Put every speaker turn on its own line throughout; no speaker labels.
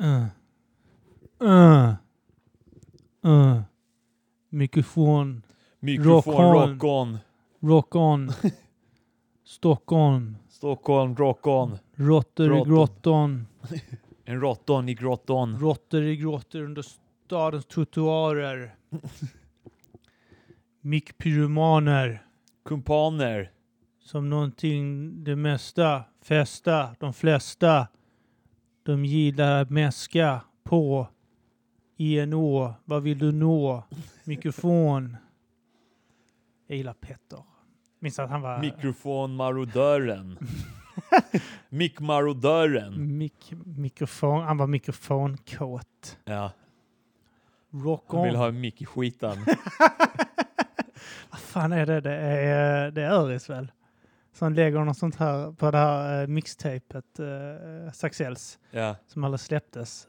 Uh. Uh. Uh. Mikrofon.
Mikrofon,
Rock on.
rock on.
Rock on. Stockholm.
Stockholm, rock on.
Råttor i
Bråttom.
grottan.
En råtton i grotton.
Råttor i grottor under stadens trottoarer. Mikpyromaner.
Kumpaner.
Som någonting det mesta. Festa. De flesta. De gillar att mäska på. INO. Vad vill du nå? Mikrofon. Jag gillar Petter. Minns att han var...
Mikrofonmarodören. Mickmarodören.
Mik mikrofon, han var mikrofonkåt.
Ja,
Rock
han
on.
vill ha en mick i skitan.
Vad fan är det? Det är, eh, det är Öris väl? Som lägger något sånt här på det här eh, mixtapet, eh, Saxells,
Ja,
som aldrig släpptes.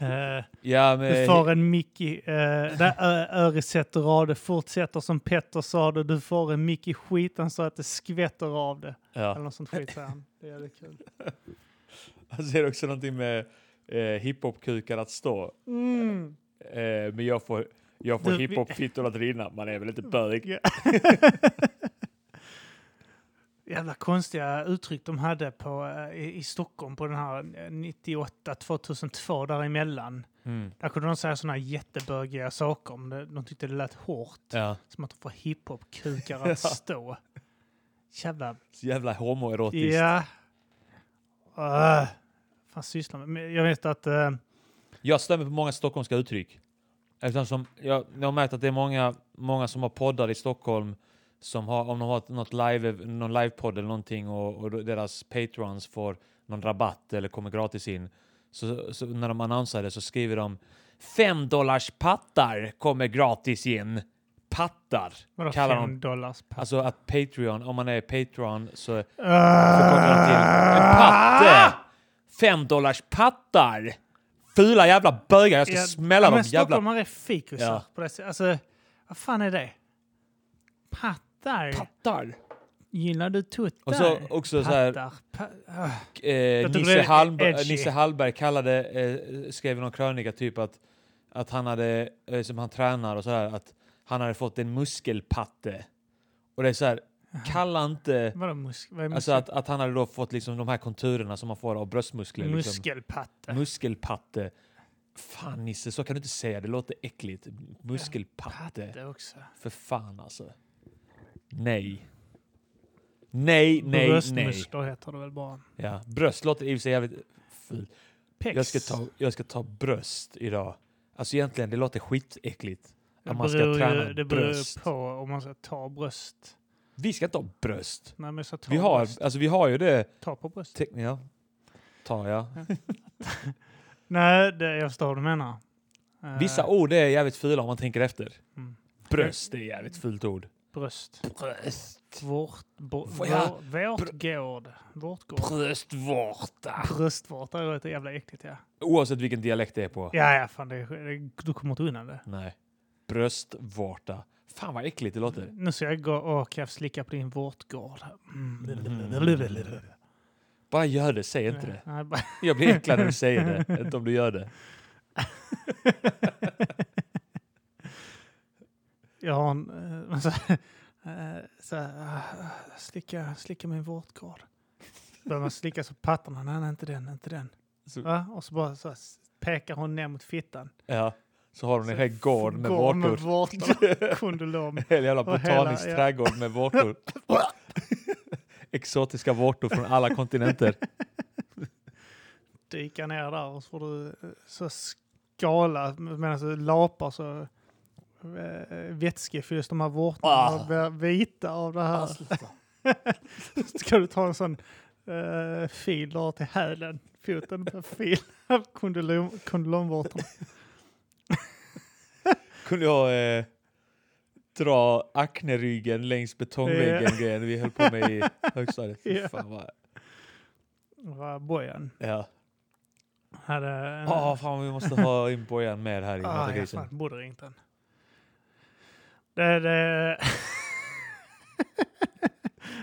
Eh,
ja
du
men...
får en mick i... Eh, där Ö- Öris sätter av det, fortsätter som Petter sa det, du får en mick i skiten så att det skvätter av det. Eller
Ja.
något sånt skit säger han. Det är jävligt kul.
Han säger också någonting med eh, hiphop-kukar att stå.
Mm.
Eh, men jag får, jag får
Du, vi-
hiphop-fittor att rinna. Man är väl inte bög?
Jävla konstiga uttryck de hade på, eh, i, i Stockholm på den här 98, 2002 däremellan.
Mm.
Där kunde de säga sådana jättebögiga saker om det. De tyckte det lät hårt.
Ja.
Som att de får hiphop-kukar att stå. Jävla...
Så jävla homoerotiskt.
Ja. Uh, fan sysslar med. Men Jag vet att... eh,
Jag stämmer på många stockholmska uttryck. Eftersom jag, jag har märkt att det är många, många som har poddar i Stockholm som har, om de har något live, någon livepodd eller någonting och, och då deras patrons får någon rabatt eller kommer gratis in. Så, så när de annonserar det så skriver de 5 dollars pattar kommer gratis in. Pattar
vadå,
kallar
fem
de.
dollars per...
Alltså att Patreon, om man är Patreon så så kommer de till en
Ah!
patte! Fem dollars pattar! Fula jävla bögar, jag ska
Ja,
smälla
ja,
dem
men
jävla
Stockholmare är fikusar
Ja.
på det sättet. Alltså, vad fan är det? Pattar?
pattar.
Gillar du tuttar?
Och så också så här,
Pattar. Pa- ah.
eh,
tycker
Nisse,
det är
Hallberg,
edgy.
Nisse Hallberg kallade, eh, skrev i någon krönika typ att, att han hade, eh, som han tränar och sådär, att han hade fått en muskelpatte. Och det är så här, kalla inte,
Vadå mus- vad är muskel?
alltså att, att han hade då fått liksom de här konturerna som man får av bröstmuskler. Liksom.
Muskelpatte.
Muskelpatte. Fan Nisse, så kan du inte säga. Det låter äckligt. Muskelpatte.
Patte också.
För fan alltså. Nej. Nej, nej, nej.
Bröstmuskler heter det väl bara.
Ja. Bröst låter i och för sig jävligt fult.
Pex.
Jag ska, ta, jag ska ta bröst idag. Alltså egentligen, det låter skitäckligt.
Det
Att man ska
beror ju-
träna
Det beror ju
bröst.
på om man ska ta bröst.
Vi ska inte ha bröst.
Nej, men jag ska ta
Vi har,
bröst.
alltså, vi har ju det.
Ta på bröst.
Te- ja. Tar jag.
Nej, det, jag förstår vad du menar. Eh,
Vissa ord är jävligt fula om man tänker efter.
Mm.
Bröst är jävligt fult ord.
Bröst.
Bröst.
Vårt, bo,
Får jag-
vår, vårt gård. Vårt gård. Ah,
bröstvårta.
Bröstvårta det låter jävla äckligt ja.
Oavsett vilken dialekt det är på.
Ja, ja, fan det, det, du kommer inte undan det.
Nej. Bröstvårta. Fan vad äckligt det låter.
Nu ska jag gå och jag slicka på din vårtgård. Mm.
Bara gör det, säg inte det.
Nej, bara-
Jag blir äcklad när du säger det, inte om du gör det.
jag har en... eh, Så, eh, så, ah, slicka, slicka min vårtgård. Så Börjar man slicka så pattarna, nej, nej inte den, inte den.
Så-
Va? Och så bara så här, s- pekar hon ner mot fittan.
Ja. Så har hon en hel gård med
Gård med
vårtor.
vårtor. Kondylom.
En hel jävla
Och hela,
botanisk
ja.
trädgård med vårtor. Exotiska vårtor från alla kontinenter.
dyka ner där och så får du eh, så skala medan du lapar så eh, vätskefylls de här vårtorna
Ah. Alltså,
och blir vita av det här. Så ska du ta en sån eh, fil du har till hälen, foten med fil av kondylom- kondylomvårtorna.
Kunde jag eh, dra akneryggen längs betongväggen grejen vi höll på med i högstadiet. Fy
Ja.
Fan vad...
Det var Bojan.
Ja.
Hade en,
Ja, fan vi måste ha in Bojan med här i
ah, jag
Matagrisen.
fan, borde ringt den. Det, det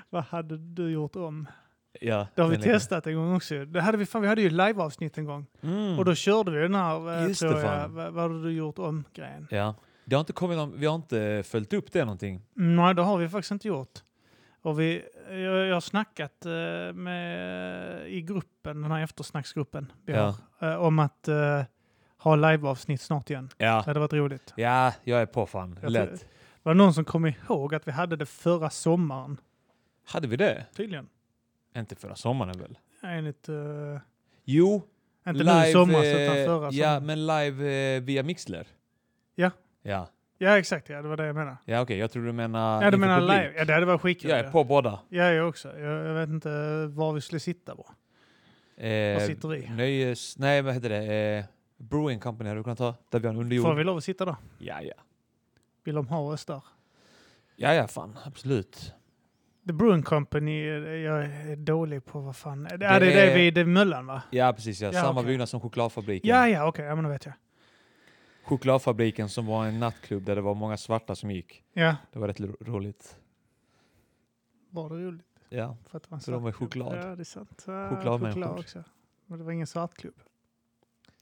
Vad hade du gjort om?
Ja,
Det har vi
den ligger.
testat en gång också. Det hade vi, fan, vi hade ju ett liveavsnitt en gång.
Mm.
Och då körde vi den här, eh,
Just
tror
det,
jag,
fan.
vad, vad har du gjort om-grejen.
Ja. Det har inte kommit om, vi har inte följt upp det någonting.
Nej, det har vi faktiskt inte gjort. Och vi, jag, jag har snackat eh, med, i gruppen, den här eftersnacksgruppen, vi
Ja.
har, eh, om att eh, ha liveavsnitt snart igen.
Ja,
Det hade varit roligt.
ja jag är på fan.
Jag tror-
Lätt.
Var det någon som kom ihåg att vi hade det förra sommaren?
Hade vi det?
Tydligen.
Inte förra sommaren väl?
Enligt, eh,
Jo,
inte nu i sommar, utan
eh,
förra
Ja,
sommaren.
men live eh, via Mixler.
Ja.
Ja,
Ja, exakt. Ja, det var det jag menade.
ja okej. Jag tror du menar...
Ja, du
inför
menar
publik.
live? Ja, det hade varit skitkul.
Jag är på båda.
Ja, jag också. Jag, jag vet inte var vi skulle sitta på.
Eh,
Vad sitter vi?
Nöjes... Nej, vad heter det? Eh, Brewing Company hade du kunnat ta. Där vi har en
Får
underjord.
vi lov att sitta då?
Ja, ja.
Vill de ha oss där?
Ja, ja, fan. Absolut.
The Brewing Company, eh, jag är dålig på vad fan... Det, ja,
Det
det är det
är-
vid det är Möllan va?
Ja, precis. Ja.
Ja,
Samma
okej.
byggnad som Chokladfabriken.
Ja, ja, okej. Ja, men då vet jag.
Chokladfabriken som var en nattklubb där det var många svarta som gick.
Ja,
Det var rätt ro- roligt.
var det roligt
Ja,
för att det var en
För de
svart
är
klubb.
choklad.
Ja, det är sant. Ja,
Chokladmänniskor.
Choklad också. Men det var ingen svartklubb.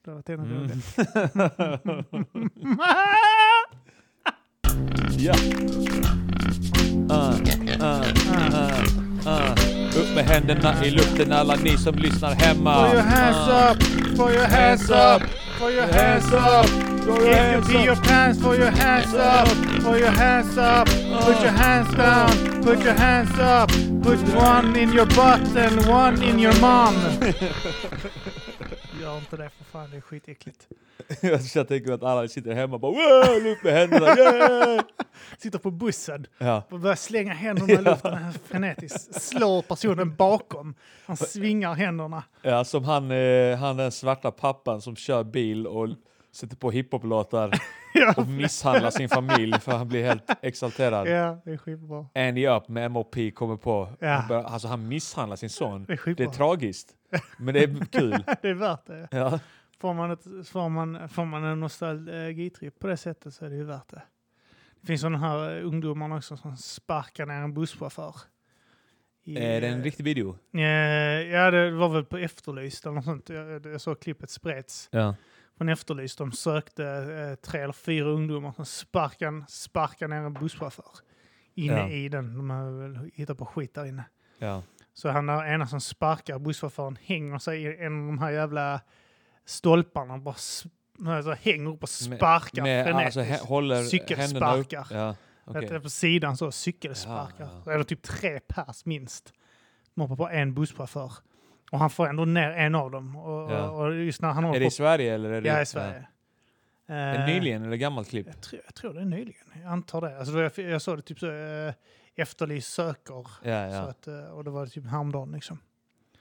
Det var en
Mm.
rolig.
ja. Ah, ah, ah, ah. Upp med händerna i luften alla ni som lyssnar hemma.
For your hands
Ah.
up! For your hands up! For your hands up!
Throw your
If
hands
you pee your
up.
pants, for your hands up! For your hands up! Put your hands down! Put your hands up! Put one in your butt and one in your mom! Gör inte det för fan, det är skitäckligt.
Jag tänker att alla sitter hemma och bara wow, upp med händerna, yeah!
Sitter på bussen
ja.
och börjar slänga händerna i luften frenetiskt. Slår personen bakom. Han svingar händerna.
ja, som han, eh, han den svarta pappan som kör bil och sätter på hiphop-låtar och misshandlar sin familj för han blir helt exalterad.
Ja, det är skitbra.
Andy Up med MOP kommer på.
Ja.
Han börjar, alltså han misshandlar sin
Det
son.
är
Det är
skitbra.
tragiskt, men det är kul.
Det är värt det.
Ja.
Får man, ett, får man, får man en nostalgitripp på det sättet så är det ju värt det. Det finns sådana här eh, ungdomar också som sparkar ner en busschaufför. I,
Är det
eh,
en riktig video?
eh, Ja, det var väl på Efterlyst eller något sånt. Jag, jag såg klippet spreds
Ja.
från Efterlyst. De sökte eh, tre eller fyra ungdomar som sparkar, sparkar ner en busschaufför inne
Ja.
i den. De har väl hittat på skit där inne.
ja.
Så han där ena som sparkar busschauffören hänger sig i en av de här jävla stolparna och bara s- alltså, hänger upp och sparkar
Med, alltså,
frenetiskt.
hä- håller händerna upp.
Cykelsparkar.
Ja. okej.
Vet du, På sidan så, cykelsparkar.
Ja,
Det är typ tre pers minst. De hoppar på en busschaufför. Och han får ändå ner en av dem. Och,
Ja.
och just när han håller
Är det i
på...
Sverige eller? Är det,
ja, i Sverige.
Ja.
Eh,
Är det nyligen eller gammalt klipp?
Jag tror, jag tror det är nyligen. Jag antar det. Alltså, jag, jag såg det typ så... Eh, Efterlyst söker.
Ja,
Så
ja.
att, eh, och det var typ häromdagen liksom.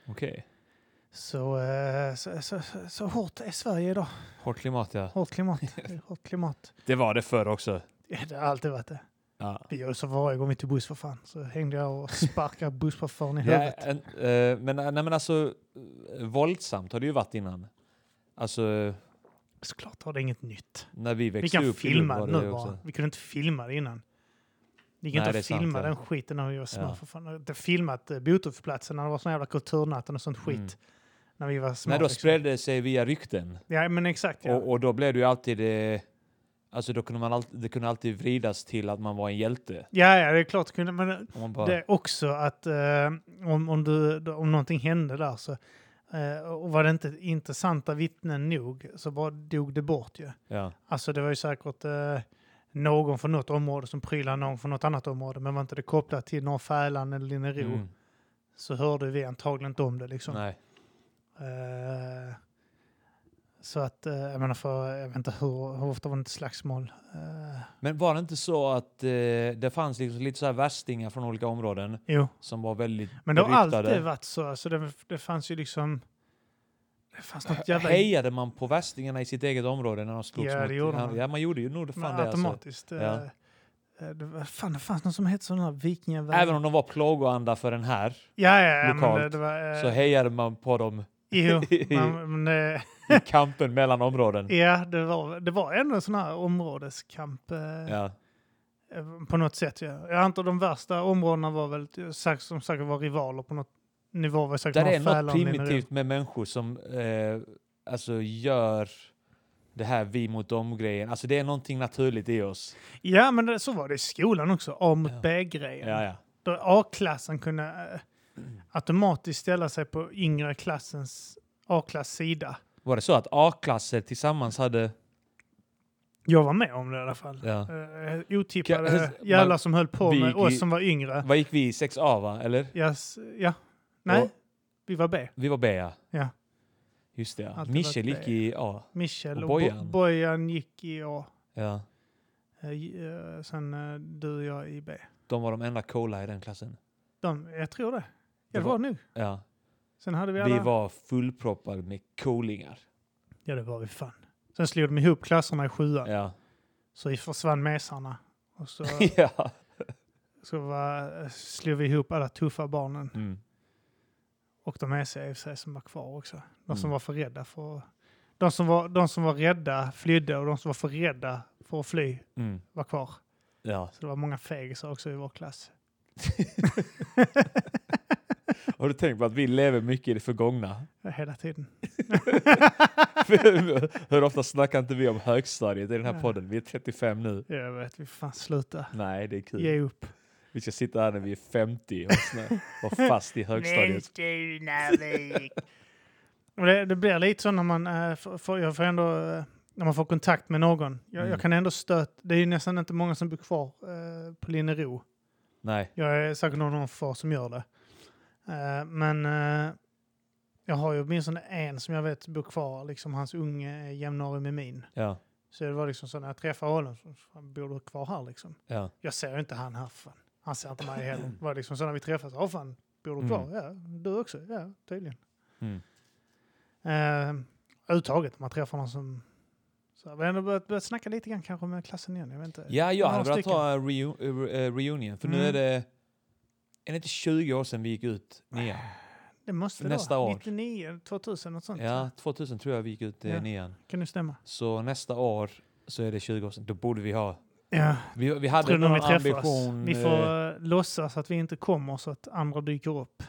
Okej.
Så, eh, så, så, så, så hårt är Sverige idag.
Hårt klimat ja.
Hårt klimat. Det är Hårt klimat.
Det var det förr också.
Ja, Det har alltid varit det.
Ja.
Vi gör ju så varje gång vi till buss för fan. Så hängde jag och sparkade busschauffören i
Ja,
huvudet.
en, eh, men, nej, men alltså, eh, våldsamt har det ju varit innan. Alltså,
Såklart var det inget nytt.
när vi växte
Vi kan
upp
filma
var
det
det
nu
ju
bara.
också.
Vi kunde inte filma det innan. Det gick
Nej,
inte
det är
att filma
sant, ja.
den skiten när vi var små.
Ja.
För fan. Jag har inte filmat eh, Botufplatsen när det var sån jävla kulturnatten och sånt skit.
Mm.
När vi var små.
Nej, då
liksom.
spred det sig via rykten.
Ja, men exakt. Ja.
Och, och då blev det ju alltid... Eh, alltså då kunde man alltid, det kunde alltid vridas till att man var en hjälte.
ja, ja, det är klart. kunde- Men
Och man bara,
Det är också att eh, om, om, du, om någonting hände där så eh, och var det inte intressanta vittnen nog så bara dog det bort ju.
ja.
Alltså det var ju säkert eh, någon från något område som prylade någon från något annat område men var inte det kopplat till norr Fälan eller Linnero
Mm.
så hörde vi antagligen inte om det liksom.
Nej.
Eh, så att, eh, jag menar för, jag vet inte hur, hur ofta var det inte slagsmål? Eh,
Men var det inte så att eh, det fanns liksom lite så här värstingar från olika områden
jo.
som var väldigt
Men det har
beryktade?
alltid varit så. Alltså det, det fanns ju liksom... Det fanns något jävla...
Hejade man på värstingarna i sitt eget område när de slogs
Ja,
mot...
det gjorde man.
Ja, man gjorde ju nog det
men
fan det alltså.
automatiskt.
Ja.
eh, eh, Det, var- fan, det fanns någon som hette sån här vikingavägen.
Även om de var plågoandar för den här
Ja, ja, ja. Men det,
lokalt,
det var... eh,
så hejade man på dem
jo, man, men, eh,
i kampen mellan områden.
ja, det var, det var ändå en sån här områdeskamp eh,
Ja.
eh, på något sätt. Ja. Jag antar de värsta områdena var väl eh, sagt- som säkert var rivaler på något, nivå var säkert
Där är
någon
något
Fallon inne i
primitivt med människor som eh, alltså gör det här vi mot dem-grejen. Alltså det är någonting naturligt i oss.
det. Ja, men det, så var det i skolan också. A mot
Ja.
B-grejen.
Ja, ja.
Då A-klassen kunde eh, automatiskt ställa sig på yngre klassens A-klass sida.
Var det så att A-klasser tillsammans hade...
Jag var med om det i alla fall.
Ja.
Eh, otippade
Kan-
jävlar
man-
som höll på
vi
med
gick
oss
i-
som var yngre.
Vad gick vi i? 6A va? Eller?
Yes, ja. Nej,
Och-
vi var B.
Vi var B ja.
Ja.
Just det ja.
Alltid
Michel
varit
gick
B.
i A.
Michel
Och
och, Bo-
Bojan.
Bojan gick i A.
Ja.
Eh, j- eh, Sen eh, du och jag i B.
De var de enda coola i den klassen.
De, jag tror det.
Det
Ja, det
var-
var nu.
Ja.
Sen hade vi alla...
Vi var fullproppade med coolingar.
Ja, det var vi fan. Sen slog de ihop klasserna i sjuan.
Ja.
Så vi försvann mesarna. Och så,
ja.
så var, eh, slog vi ihop alla tuffa barnen.
Mm.
Och de mesiga i och för sig som var kvar också. De som
Mm.
var för rädda för... De som var, de som var rädda flydde och de som var för rädda för att fly
Mm.
var kvar.
Ja.
Så det var många fegisar också i vår klass.
Har du tänkt på att vi lever mycket i det förgångna?
Hela tiden.
Hur ofta snackar inte vi om högstadiet i den här
Ja.
podden? Vi är 35 nu.
Jag vet, vi får fan sluta.
Nej, det är kul.
Ge upp.
Vi ska sitta här när vi är 50 och snö- vara fast i högstadiet.
Mönsteravik. Men det, det blir lite så när man, äh, får, får- jag får ändå, eh, när man får kontakt med någon. Jag,
Mm.
jag kan ändå stöt, det är ju nästan inte många som bor kvar eh, på Linnero.
Nej.
Jag är säkert någon av få som gör det. Eh, men eh, jag har ju åtminstone en som jag vet bor kvar, liksom hans unge är jämnårig med min.
Ja.
Så det var liksom så när jag träffade honom, så fan, bor du kvar här liksom?
Ja.
jag ser ju inte han här. Fan. Han ser inte mig heller. Det var liksom så när vi träffas. Ja fan, bor du kvar?
Mm.
Ja, du också? Ja, tydligen.
Mm.
Eh, överhuvudtaget om man träffar någon som... Så har vi ändå börjat, börjat snacka lite grann kanske med klassen igen. Jag vet inte.
ja, jag
Några
hade velat
stycken.
ha en reu- eh, eh, reunion. För nu
Mm.
är det... Är det inte 20 år sedan vi gick ut nian?
Ah, Det måste det
nästa
vara.
år.
99, 2000 något sånt.
Ja, 2000 tror jag vi gick ut eh,
Ja.
nian.
Kan det stämma?
Så nästa år så är det 20 år sedan. Då borde vi ha...
Ja,
Vi, vi
jag tror
hade
nog
någon
vi träffas.
ambition...
vi
eh,
får eh, låtsas att vi inte kommer så att andra dyker upp.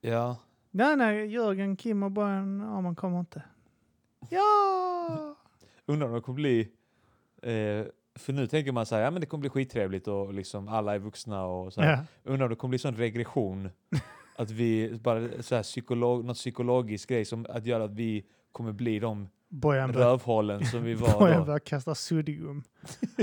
Ja.
Nej, nej, Jörgen, Kim och Bojan, ja, man kommer inte. Ja!
Undrar om det kommer bli... Eh, för nu tänker man så här, ja men det kommer bli skittrevligt och liksom alla är vuxna och så här.
ja.
Undrar om det kommer bli sån regression. att vi bara så här psykolog, något psykologisk grej som att göra att vi kommer bli de
Bojan börjar
rövhålen som vi var
Bojan
då.
börjar kasta suddgum.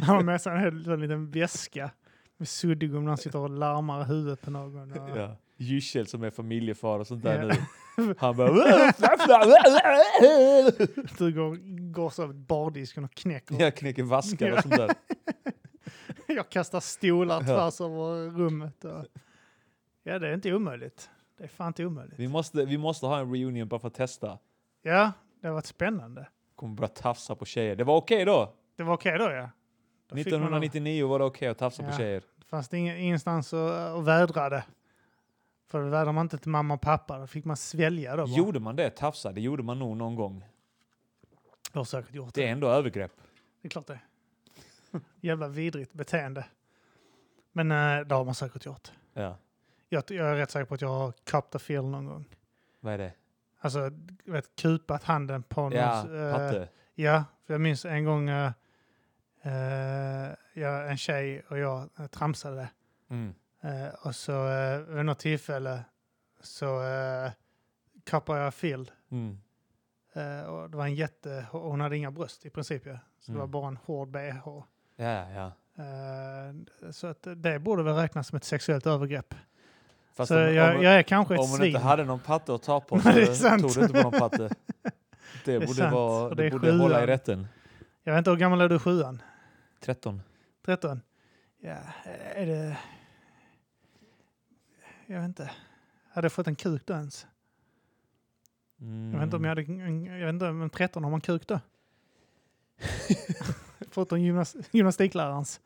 Han har med sig en hel en liten väska med suddgum när han sitter och larmar i huvudet på någon. Och,
Ja. Gyssel som är familjefar och sånt där
"Ah." Ja.
nu. Han bara...
Du går, går så över bardisken och knäcker.
Jag knäcker vaskar och sånt där.
Jag kastar stolar
Ja.
tvärs över rummet. Och, ja, det är inte omöjligt. Det är fan inte omöjligt.
Vi måste, vi måste ha en reunion bara för att testa.
Ja, det har varit spännande.
Kommer börja tafsa på tjejer. Det var okej då!
Det var okej då ja. Då fick man-
1999 var det okej att tafsa
Ja.
på tjejer.
Det fanns det ingen, ingenstans att, att vädra det. För det vädrade man inte till mamma och pappa. Då fick man svälja då. bara.
Gjorde man det, tafsa, det gjorde man nog någon gång.
Jag har säkert gjort det.
Det är ändå övergrepp.
Det är klart det. Jävla vidrigt beteende. Men eh, det har man säkert gjort.
Ja.
Jag, jag är rätt säker på att jag har cup the feel någon gång.
Vad är det?
Alltså, du vet, kupat handen på någon. eh,
Ja, patte.
ja, för jag minns en gång eh, eh, ja, en tjej och jag eh, tramsade.
Mm.
Eh, och så eh, vid något tillfälle så eh, kappade jag fil.
Mm.
Eh, och det var en jätte, hon hade inga bröst i princip ju. Så det
Mm.
var bara en hård bh.
Ja, ja.
Eh, Så att det borde väl räknas som ett sexuellt övergrepp.
Fast
så
om,
jag,
om,
jag är kanske ett
om man
svin.
inte hade någon patte att ta på
Nej,
så
det är sant.
tog du inte på någon patte. Det,
är
borde,
sant.
vara,
Och
det
det är
borde hålla i
sjuan.
rätten.
Jag vet inte, hur gammal är du? Sjuan?
13.
Tretton? Ja, är det... Jag vet inte. Hade jag fått en kuk då ens?
Mm.
Jag vet inte om jag hade... en- Jag vet inte, men 13 har man kuk då? Förutom gymnas, gymnastiklärarens.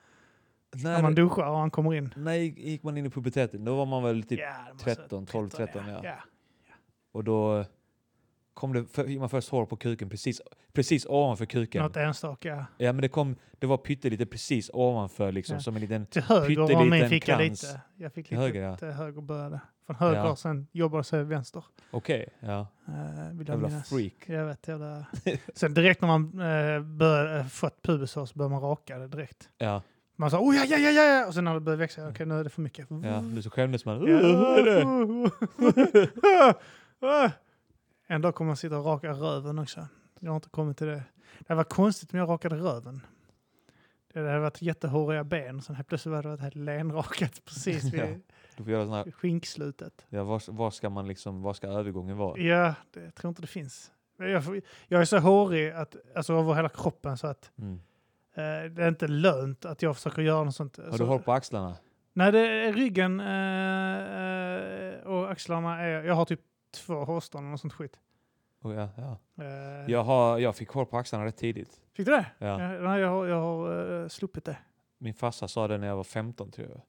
När
När,
man duschar och han kommer in.
när gick- gick man in i Typ puberteten? Då var man väl typ...
Ja, det måste vara
13, 12, 13, ja.
ja.
Och då... kom det, för, man först hår på kuken, precis, precis ovanför kuken.
Något enstaka.
Ja, men det kom, det var pyttelite precis ovanför liksom,
Ja.
som en liten...
Till höger om mig
Pytteliten
fick jag
krans.
lite. Jag fick
Till
lite
höger, ja.
till höger började. Från höger,
Ja.
sen jobbade sig vänster.
Okej, ja.
Eh, vill jag
Jävla
minnas.
freak.
Jag vet, jävla... Sen direkt när man eh, bör, eh, fått pubishår så börjar man raka det direkt.
Ja,
Man sa oh ja, ja, ja, ja, och sen när det börjar växa, okej nu är det för mycket.
Mm. ja. Nu så skämdes man.
Ja.
Vad är det?
en dag kommer man sitta och raka röven också. Jag har inte kommit till det. Det var konstigt om jag rakade röven. Det hade varit jättehåriga ben, sen helt plötsligt hade det varit helt lenrakat precis vid
Du får göra sån här,
skinkslutet.
ja, var, var ska man liksom, var ska övergången vara?
Ja, det, jag tror inte det finns. Men Jag, får- jag är så hårig att, alltså, över hela kroppen så att
Mm.
eh, det är inte lönt att jag försöker göra något sånt.
Har du
så,
hår på axlarna?
Nej, det är ryggen eh, eh, och axlarna. Är, jag har typ två hårstrån och något sånt skit.
Oh, ja, ja.
Eh,
Jag, har, jag fick hår på axlarna rätt tidigt.
Fick du det?
Ja.
Ja, nej, jag har, jag har eh, sluppit det.
Min farsa sa det när jag var 15 tror jag.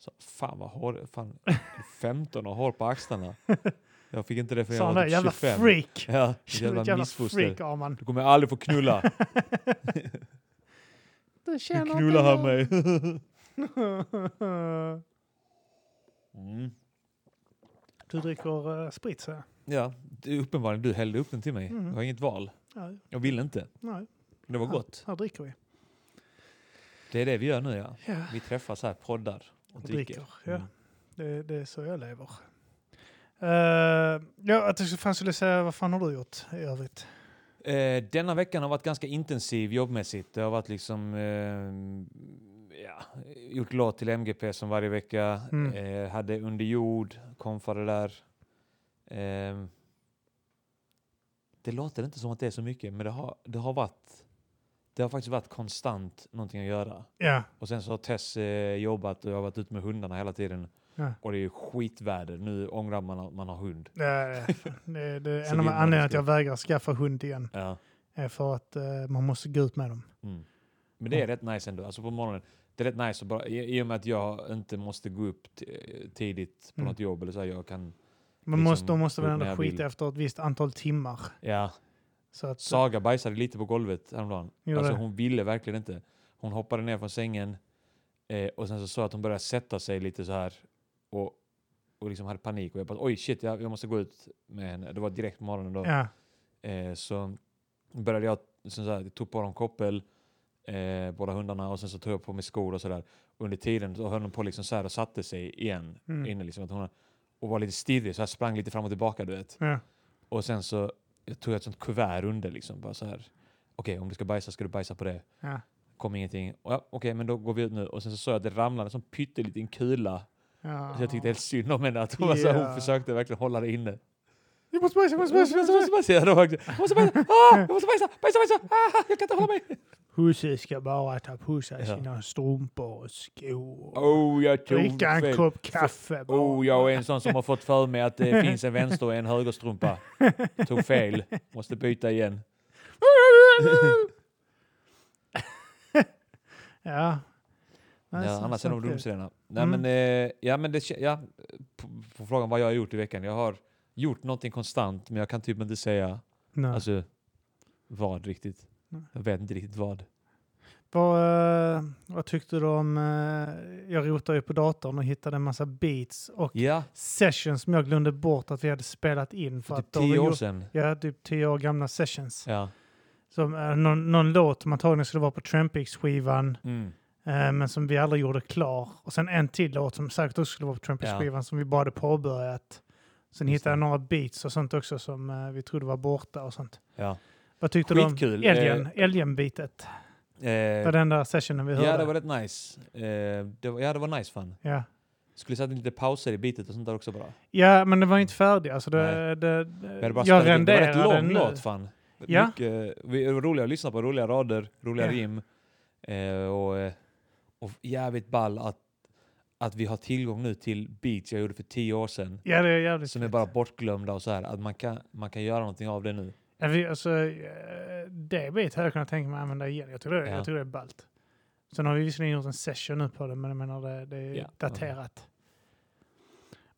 Så, fan vad hår, fan, är du 15 och hår på axlarna. Jag fick inte det förrän
Sa
jag
han
var
det?
typ
Jävla
25.
freak!
Ja,
Jävla,
ett jävla,
jävla
missfoster.
freak, Arman.
Du kommer aldrig få knulla.
Du
Nu
känner
knullar han
inte
mig.
någon.
Mm.
du dricker eh, sprit, så jag.
Ja, du, uppenbarligen. Du hällde upp den till mig.
Mm.
Jag har inget val.
Ja,
Jag ville inte.
nej,
Det var
Ja.
gott.
här dricker vi.
Det är det vi gör nu ja.
Ja,
Vi träffas här, poddar och
och
dricker.
dricker. Ja.
Mm.
Det, det är så jag lever. Eh, ja, att jag skulle- fan skulle säga, vad fan har du gjort i övrigt?
Eh, denna veckan har varit ganska intensiv jobbmässigt. Det har varit liksom... Eh, ja, gjort låt till MGP som varje vecka.
Mm.
Eh, hade Under jord, konfade där. Eh, det låter inte som att det är så mycket, men det har, det har varit... Det har faktiskt varit konstant någonting att göra.
Ja,
Och sen så har Tess eh, jobbat och jag har varit ute med hundarna hela tiden.
Ja.
Och det är ju skitväder. Nu ångrar man att man har hund.
det, är- det, det,
Så
en av
vill man
anledningarna
det
att jag vägrar skaffa hund igen
Ja.
är för att eh, man måste gå ut med dem.
Mm. Men det är
Ja.
rätt nice ändå. Alltså på morgonen. Det är rätt nice att bara, i, i och med att jag inte måste gå upp t- tidigt på
Mm.
något jobb eller så. Här, jag kan,
Man
Liksom,
måste, de måste väl
upp
ändå
när jag
skita
vill.
efter ett visst antal timmar.
ja.
Så att,
Saga bajsade lite på golvet häromdagen.
Gjorde
Alltså
det?
hon ville verkligen inte. Hon hoppade ner från sängen eh, och sen så sa jag att hon började sätta sig lite så här och, och liksom hade panik. Och jag bara oj shit, jag, jag måste gå ut med henne. Det var direkt på morgonen då.
ja.
Eh, så började jag, sen så här, tog på dem koppel, eh, båda hundarna, och sen så tog jag på mig skor och sådär. Under tiden så höll hon på liksom så här och satte sig igen.
Mm.
Inne liksom, att hon, och var lite stirrig, så här sprang lite fram och tillbaka du vet.
Ja.
Och sen så tog jag ett sånt kuvert under liksom, bara så här. Okej, om du ska bajsa ska du bajsa på det.
Ja.
Kom ingenting. Och Ja, Okej, men då går vi ut nu. Och sen så såg jag att det ramlade en sån pytteliten kula.
Ja.
Så jag tyckte helt synd om henne. Att hon, var så här,
Ah. Ja.
hon försökte verkligen hålla det inne.
Jag måste bajsa, jag måste bajsa, jag måste bajsa!
bajsa! Ja, det var verkligen- Jag måste bajsa! Ah, jag måste bajsa! Bajsa, bajsa! Ah, jag kan inte hålla mig!
Husse ska bara ta på sig
Ja.
sina strumpor och skor.
Oh, jag tog
dricka en
fel.
kopp kaffe bara.
Oh, jag är en sån som har fått för mig att det finns en vänster och en högerstrumpa. Tog fel. Måste byta igen.
ja. Nej,
Ja,
så-
annars
så
är de
att det-
rumsrena. Nej,
Mm.
men, eh, ja, men det, kä- ja, på, på frågan vad jag har gjort i veckan. Jag har gjort någonting konstant, men jag kan typ inte säga
Nej.
alltså, vad riktigt.
Nej.
Jag vet inte riktigt vad.
vad, eh, vad tyckte du om... eh, Jag rotade ju på datorn och hittade en massa beats och
Ja,
sessions som jag glömde bort att vi hade spelat in. För
för
att
typ
de var
tio år
gjort-
sedan.
Ja, typ tio år gamla sessions.
Ja.
Som, eh, någon, någon låt som antagligen skulle vara på Trampix-skivan,
Mm.
eh, men som vi aldrig gjorde klar. Och sen en till låt som säkert också skulle vara på Trampix-skivan, som vi bara hade påbörjat. Sen
Just
hittade jag
det.
några beats och sånt också som eh, vi trodde var borta och sånt.
Ja.
Vad tyckte
Skitkul,
du
eh,
om Alien- Alien-bitet?
Eh,
det var den där sessionen vi hörde.
ja, det var rätt nice. Eh, det var, ja, det var nice fan.
ja.
Skulle sätta lite pauser i bitet och sånt där också bara.
ja, men det var inte färdigt. Alltså det,
Nej.
det,
Vi hade bara
jag
spelat in. det var
renderade
rätt lång
den nu.
låt fan.
Ja.
Mycket, vi, det var roliga att lyssna på, roliga rader, roliga
Ja.
rim. Eh, och, eh, och jävligt ball att, att vi har tillgång nu till beats jag gjorde för tio år sedan.
Ja, det är jävligt
Som är
fett.
bara bortglömda och så här. Att man kan, man kan göra någonting av det nu.
Ja, vi- Alltså, eh, det bit hade jag kunnat tänka mig att använda igen. Jag tror det,
Ja.
jag tror det är ballt. Sen har vi visserligen gjort en session nu på det, men jag menar det, det är
Ja.
daterat.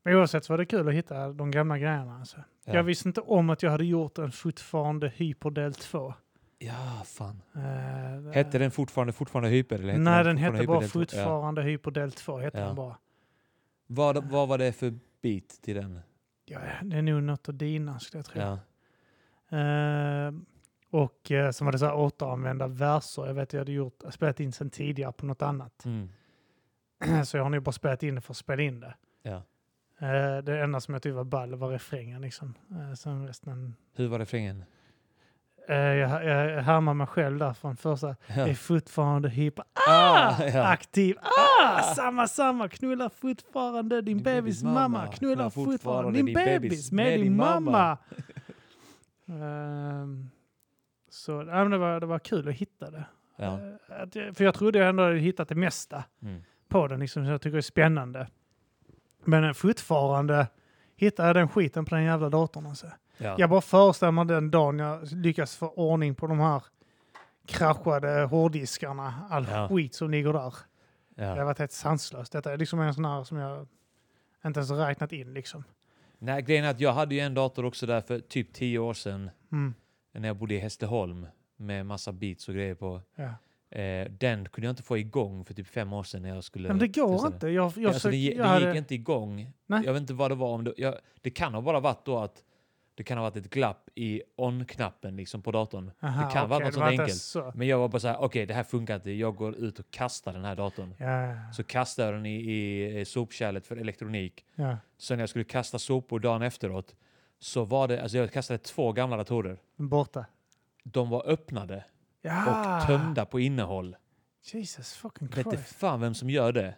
Men oavsett så var det kul att hitta de gamla grejerna. Alltså.
Ja.
Jag visste inte om att jag hade gjort en fortfarande Hyperdel 2.
Ja, fan.
Eh,
Hette den fortfarande, fortfarande Hyper? Eller hette
Nej, den hette
fortfarande
bara
Hyper Del två? Ja.
fortfarande Hyperdel 2. Hette
Ja.
den bara.
Vad, vad var det för beat till den?
Ja, det är nog något av dina skulle jag tro.
Ja.
Eh, och eh, sen var det så här återanvända verser. Jag vet jag hade gjort, spelat in sen tidigare på något annat.
Mm.
så jag har nog bara spelat in det för att spela in det.
ja.
Eh, det enda som jag tyckte var ball var refrängen liksom. Eh, sen resten...
Hur var refrängen?
Eh, jag, jag härmar mig själv där från första.
Ja.
Är fortfarande hip
Ah,
ah,
ja.
aktiv. Ah, samma, samma. Knullar fortfarande din, bebis, mamma. Knullar fortfarande din bebis med din mamma. Ehm, så ja, men det, var, det var kul att hitta det.
Ja.
Eh, Att, jag- för jag trodde jag ändå hade hittat det mesta
Mm.
på den, liksom, som jag tycker är spännande. Men eh, fortfarande hittar jag den skiten på den jävla datorn. Alltså.
Ja.
Jag bara föreställer mig den dagen jag lyckas få ordning på de här kraschade hårddiskarna, all
Ja.
skit som ligger där. Det har
Ja.
varit helt sanslöst. Detta är liksom en sån här som jag inte ens räknat in liksom.
Nej, grejen är att jag hade ju en dator också där för typ tio år sedan
Mm.
när jag bodde i Hässleholm med massa beats och grejer på.
Ja.
Eh, den kunde jag inte få igång för typ fem år sedan när jag skulle...
Nej, men det går
testa den.
inte. Jag, jag,
Jag alltså, det,
försökte-
gi-
jag
det
hade-
gick inte igång.
Nej.
Jag vet inte vad det var. Om det, jag, det kan ha bara varit då att det kan ha varit ett glapp i on-knappen liksom på datorn.
Aha,
det kan vara
okej, det
något sånt
var inte
enkelt.
Så.
Men jag var bara så här, okej det här funkar inte. Jag går ut och kastar den här datorn.
Ja,
Så kastade jag den i, i eh, sopkärlet för elektronik.
ja.
Sen när jag skulle kasta sopor dagen efteråt så var det, alltså jag kastade två gamla datorer.
Borta.
De var öppnade och
Ja.
tömda på innehåll.
Jesus fucking
Vet inte
Ah. Christ.
fan vem som gör det.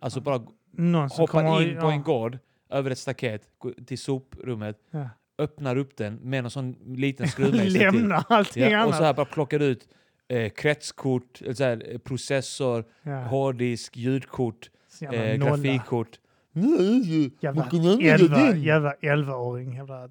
Alltså bara
Någon som
hoppar
kommer-
in på
ja,
en gård över ett staket gå till soprummet,
ja.
öppnar upp den med en sån liten skruvmejsel till.
Lämna allting
Ja, och
annat.
så här bara plockar ut eh, kretskort, eller så här, eh, processor,
ja.
hårddisk, ljudkort,
Så Ah. jävla
eh,
nolla.
grafikkort.
Jävla
Man kan använda
elva-
den.
jävla elvaåring. Jävla,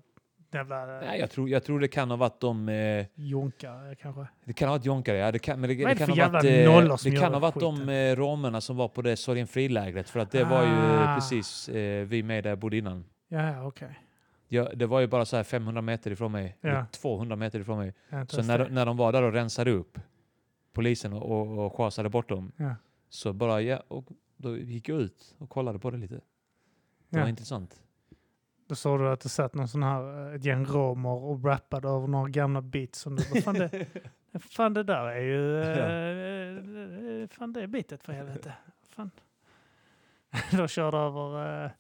jävla eh,
Nej, jag, tror, jag tror det kan ha varit de... Eh,
jonkare kanske.
det kan ha varit jonkare, ja. Det kan, men det,
Vad är
det
det
kan
för
ha varit,
jävla nollor
eh,
som
det
gör
kan ha varit de
skiten?
eh, romerna som var på det Sorgenfri-lägret. För att det var ju
Ah.
eh, precis eh, vi med där jag bodde innan.
Ja, ja, okej.
Jag, det var ju bara så här 500 meter ifrån mig,
Ja.
eller 200 meter ifrån mig.
Jag har inte
Så
ens
när,
det.
de- när de var där och rensade upp polisen och, och, och schasade bort dem
Ja.
så bara, ja, och då gick jag ut och kollade på det lite. Det
Ja.
var intressant.
Då såg du att det satt någon sån här, eh, ett gäng romer och rappade över några gamla beats. Som du, bara, fan, det, fan det där är ju... eh, eh, Fan det beatet för helvete. Fan. De körde över... eh,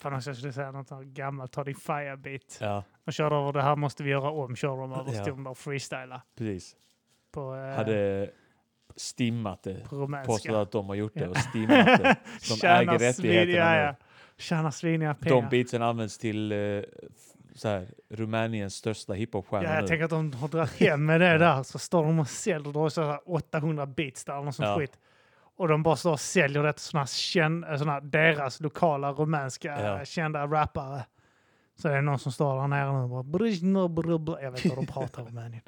Fan också jag skulle säga något sånt här gammalt, ta din fire beat.
Ja,
De körde över det här måste vi göra om, körde de över.
Ja.
Stod de bara och freestyla
precis.
på, eh,
Hade stimmat det.
på
Påstått
rumänska.
att de har gjort det
Ja.
och stimmat det. de
Tjänar
äger rättigheterna
svin- ja,
nu.
ja. Tjänar sviniga pengar.
De beatsen används till eh, f- så här, Rumäniens största hiphopstjärna
Ja, jag
nu.
tänker att de har dragit hem med det där, så står de och säljer, då har så här 800 beats där, något sånt
Ja.
skit. Och de bara står och säljer det till såna, här känn, eh, såna här deras lokala rumänska
Ja.
eh, kända rappare. Så det är någon som står där nere nu och bara... "Brizjno, bru, bru." Jag vet inte vad de pratar om Rumänien.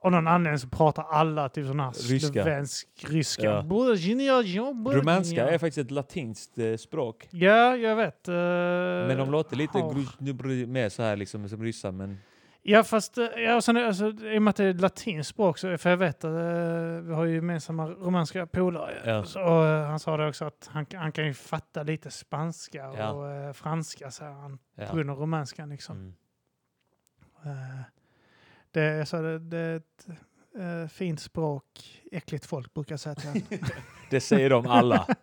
Av någon anledning så pratar alla typ sån här
Ryska.
slovensk ryska.
Ja.
Brizjno, jo, brizjno.
Rumänska är faktiskt ett latinskt eh, språk.
Ja, jag vet. Eh,
Men de låter lite
har-
grusnubri- mer så här liksom som ryssar. Men
Ja, fast eh, ja, och sen, är- alltså, i och med att det är ett latinskt språk, så, för jag vet att eh, vi har ju gemensamma romanska polare.
Ja.
Så, Och, eh, han sa det också att han, han kan ju fatta lite spanska
Ja.
och eh, franska, säger han,
ja.
på grund av romanskan. Liksom.
Mm.
Eh, det, jag sa, det, det är ett eh, fint språk, äckligt folk brukar jag säga till honom.
Det säger de alla.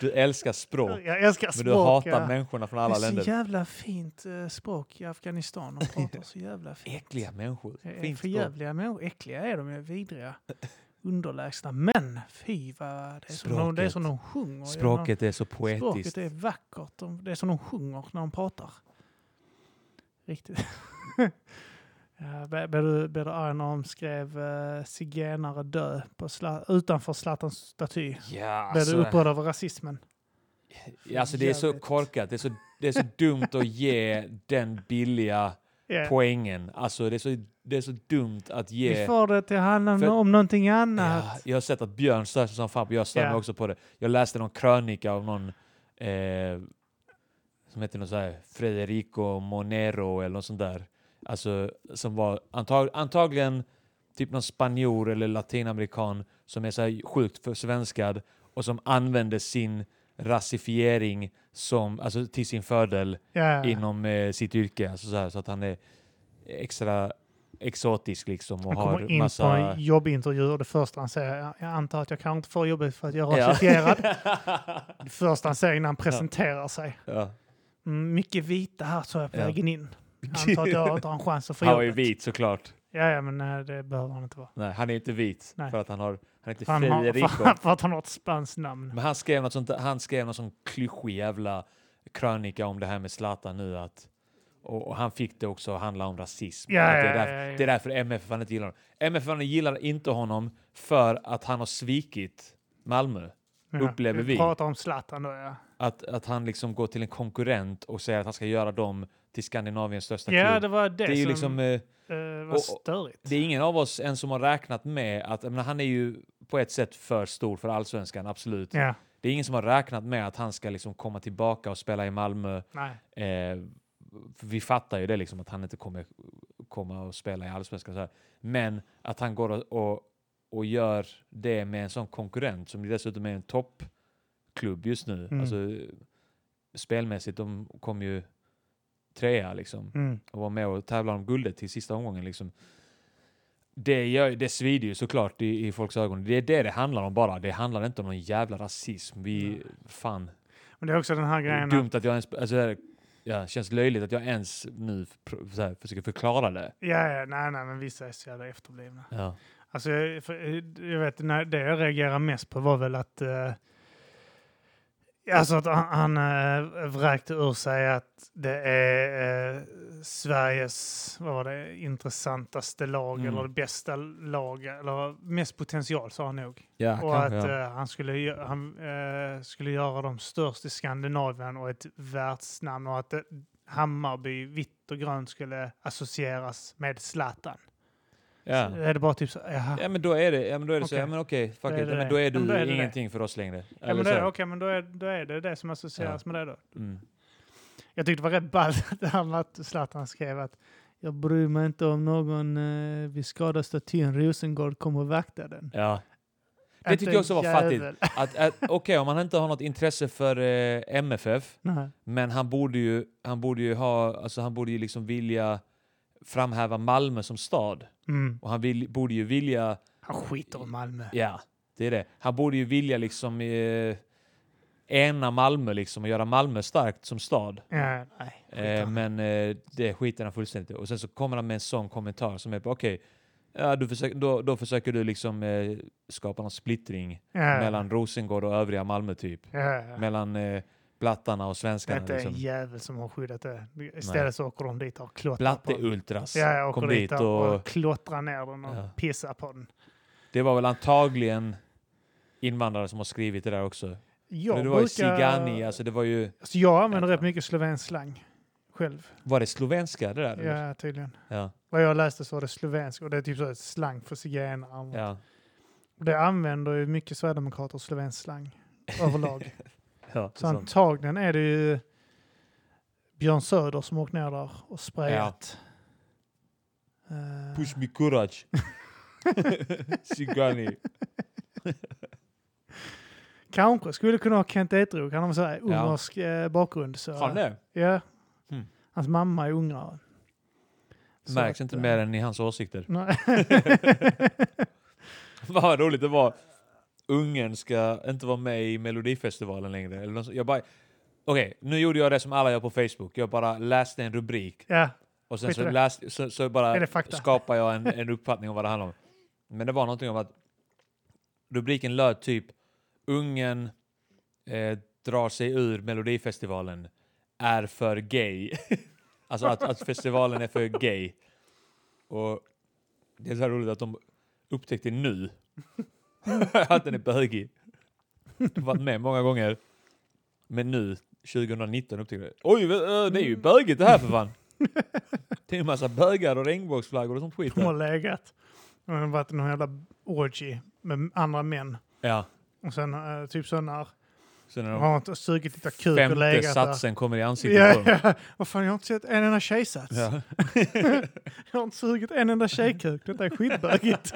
Du älskar språk,
jag älskar
men
språk.
du hatar
ja.
människorna från alla
det är
länder.
så jävla fint eh, språk i Afghanistan. De pratar så jävla fint.
Äckliga människor.
Det är
Fint
för
språk.
jävliga människor. Äckliga är de ju, vidriga. Underlägsna. Men fy vad... Det är som, de, det är som de sjunger.
Språket är så
Ja,
poetiskt.
Språket är vackert. De, det är som de sjunger när de pratar. Riktigt. Ja, Blev blev du, blev du arg när de skrev uh, zigenare dö på sla, utanför Zlatans staty?
Ja,
Blev du
alltså,
upprörd över rasismen?
ja, alltså det är så
Jävligt.
korkat. Det är så, det är så dumt att ge den billiga
Ja.
poängen. Alltså det är så, det är så dumt att
Vi
ge...
får det till att handla
För-
om någonting
Ja,
annat.
jag har sett att Björn stör sig som fan på, jag stör
Ja.
mig också på det. Jag läste någon krönika av någon eh, som hette något så här Federico Monero eller något sånt där. Alltså som var antag antagligen typ någon spanjor eller latinamerikan som är så här sjukt försvenskad och som använde sin rasifiering som, alltså till sin fördel
Ja.
inom eh, sitt yrke. Alltså så, här, så att han är extra exotisk liksom och
Han kommer
har
in på
massa...
en jobbintervju och det första han säger, "Ja, jag antar att jag kanske inte får jobbet för att jag är rasifierad. Det första han säger innan han presenterar sig.
ja.
Mm, mycket vita här så jag på
Ja.
vägen in. Jag antar att jag inte har en chans att få
Han var ju
jobbet.
vit såklart.
Ja, ja, men nej, det behöver han inte vara.
Nej, han är inte vit
Nej.
för att han har... Han heter
Han har,
Federico.
för, för att han har ett spanskt namn.
Men han skrev något sånt, han skrev någon sån klyschig jävla krönika om det här med Zlatan nu att... Och, och han fick det också att handla om rasism.
Ja,
att det,
ja,
är därför,
ja, ja.
det är därför MFF inte gillar honom. MFF gillar inte honom för att han har svikit Malmö.
Ja,
upplever vi.
Pratar om Zlatan då, ja.
Att, att han liksom går till en konkurrent och säger att han ska göra dem till Skandinaviens största
Ja,
klubb.
det var det,
det är ju
som
liksom... eh,
eh,
och-
var
och-
störigt.
Det är ingen av oss än som har räknat med att, jag menar, han är ju på ett sätt för stor för allsvenskan, absolut.
Ja,
Det är ingen som har räknat med att han ska liksom komma tillbaka och spela i Malmö.
nej.
Eh, för vi fattar ju det liksom att han inte kommer komma och spela i allsvenskan. Så här. Men att han går och, och, och gör det med en sån konkurrent som dessutom är en toppklubb just nu.
Mm.
Alltså, spelmässigt, de kom ju trea liksom
Mm.
och var med och tävla om guldet till sista omgången. Liksom. Det, gör, det svider ju såklart i, i folks ögon. Det är det det handlar om bara. Det handlar inte om någon jävla rasism. Vi, fan.
Men det är också den här
Det är
grejen.
dumt att jag ens... Alltså, det här- ja, känns löjligt att jag ens nu pr- så här, försöker förklara det.
Ja, ja, nej, nej, men vissa är så jävla efterblivna.
Ja.
Alltså, jag, för, jag vet, när det jag reagerade mest på var väl att... Eh, alltså att han, han eh, vräkte ur sig att det är eh, Sveriges, vad var det, intressantaste lag
Mm.
eller det bästa lag, eller mest potential sa han nog.
Ja,
Och att
ja.
eh, han, skulle, gö- han eh, skulle göra dem störst i Skandinavien och ett världsnamn och att eh, Hammarby, vitt och grönt skulle associeras med Zlatan.
Ja.
Är det bara typ så, jaha.
ja, men då är det, ja, men då är det så.
Okej.
Ja, men okej, fuck
Då är
it.
det
Ja,
det.
men då är
Ja, men då är det
du
det.
ingenting för oss längre.
Ja, men
Eller
det,
så
är-
här.
okej, men då är, då är det det som associeras med det då.
Mm.
Jag tyckte det var rätt ballt att han att Zlatan skrev att jag bryr mig inte om någon eh, vid skadad statyn, Rosengård kommer och vakta den.
ja. Det
Inte
tyckte jag också var fattigt.
jävel.
Att, att, Okej, om han inte har något intresse för eh, MFF,
Nej.
Men han borde ju, han borde ju, ha, alltså han borde ju liksom vilja framhäva Malmö som stad.
Mm.
Och han vill, borde ju vilja...
Han skiter i Malmö.
Ja, det är det. Han borde ju vilja liksom eh, ena Malmö liksom och göra Malmö starkt som stad.
Ja, nej. skiter
Eh,
han.
men eh, det skiter han fullständigt i. Och sen så kommer han med en sån kommentar som är på okej, ja, du försöker, då, då försöker du liksom eh, skapa någon splittring
Ja.
mellan Rosengård och övriga Malmö typ.
Ja, ja.
Mellan eh, blattarna och
Det är
svenskarna.
inte
Liksom.
en jävel som har skyddat det. Istället så åker de dit och har klottrar på den.
Blatte-ultras
Ja, jag åker
kom
dit
dit
och,
och
klottrar ner den och
Ja.
pissar på den.
det var väl antagligen invandrare som har skrivit det där också.
Jag
Men det var ju
brukar-
Cigani, alltså det var ju...
Alltså jag använder rätt mycket slovensk slang själv.
Var det slovenska det där? eller?
Ja, tydligen.
Ja,
Vad jag läste så var det slovensk och det är typ så här slang för zigenare.
ja,
Och Det använder ju mycket sverigedemokrater svensk slang överlag.
ja.
så antagligen är det ju Björn Söder som åkt ner där och sprayat. Eh,
Push me courage. Cigani.
Kanske skulle kunna ha Kent Ekeroth. Han har så här ungersk eh, bakgrund. Så,
Har han det?
Ja.
Hmm.
Hans mamma är ungrare. Så
Märks
att,
inte
eh,
mer än i hans åsikter.
Nej.
Vad roligt det var. Ungern ska inte vara med i Melodifestivalen längre. Eller något så- Jag bara... Okej, nu gjorde jag det som alla gör på Facebook. Jag bara läste en rubrik
ja,
Och sen
Skit i
så,
det.
läste, så, så
Är det
bara
fakta?
skapar jag en, en uppfattning om vad det handlar om. Men det var någonting om att rubriken löd typ Ungern eh, drar sig ur Melodifestivalen är för gay. alltså att, att festivalen är för gay. Och det är så här roligt att de upptäckte nu att den är bögig. De har varit med många gånger. Men nu, 2019, upptäckte de oj, eh, det är ju
Mm.
bögigt det här för fan. Det är en massa bögar och regnbågsflaggor och sånt skit.
de har
där.
legat. Det har varit någon jävla orgy med andra män.
Ja,
Och sen eh, typ så när
Sen när
Jag
de
har inte sugit lite kuk och
femte
legat där.
satsen kommer i ansiktet på
Ja,
dem.
ja. Vad fan, jag har inte sett en enda tjejsats.
Ja.
Jag har inte sugit en enda tjejkuk. Detta är skitbögigt.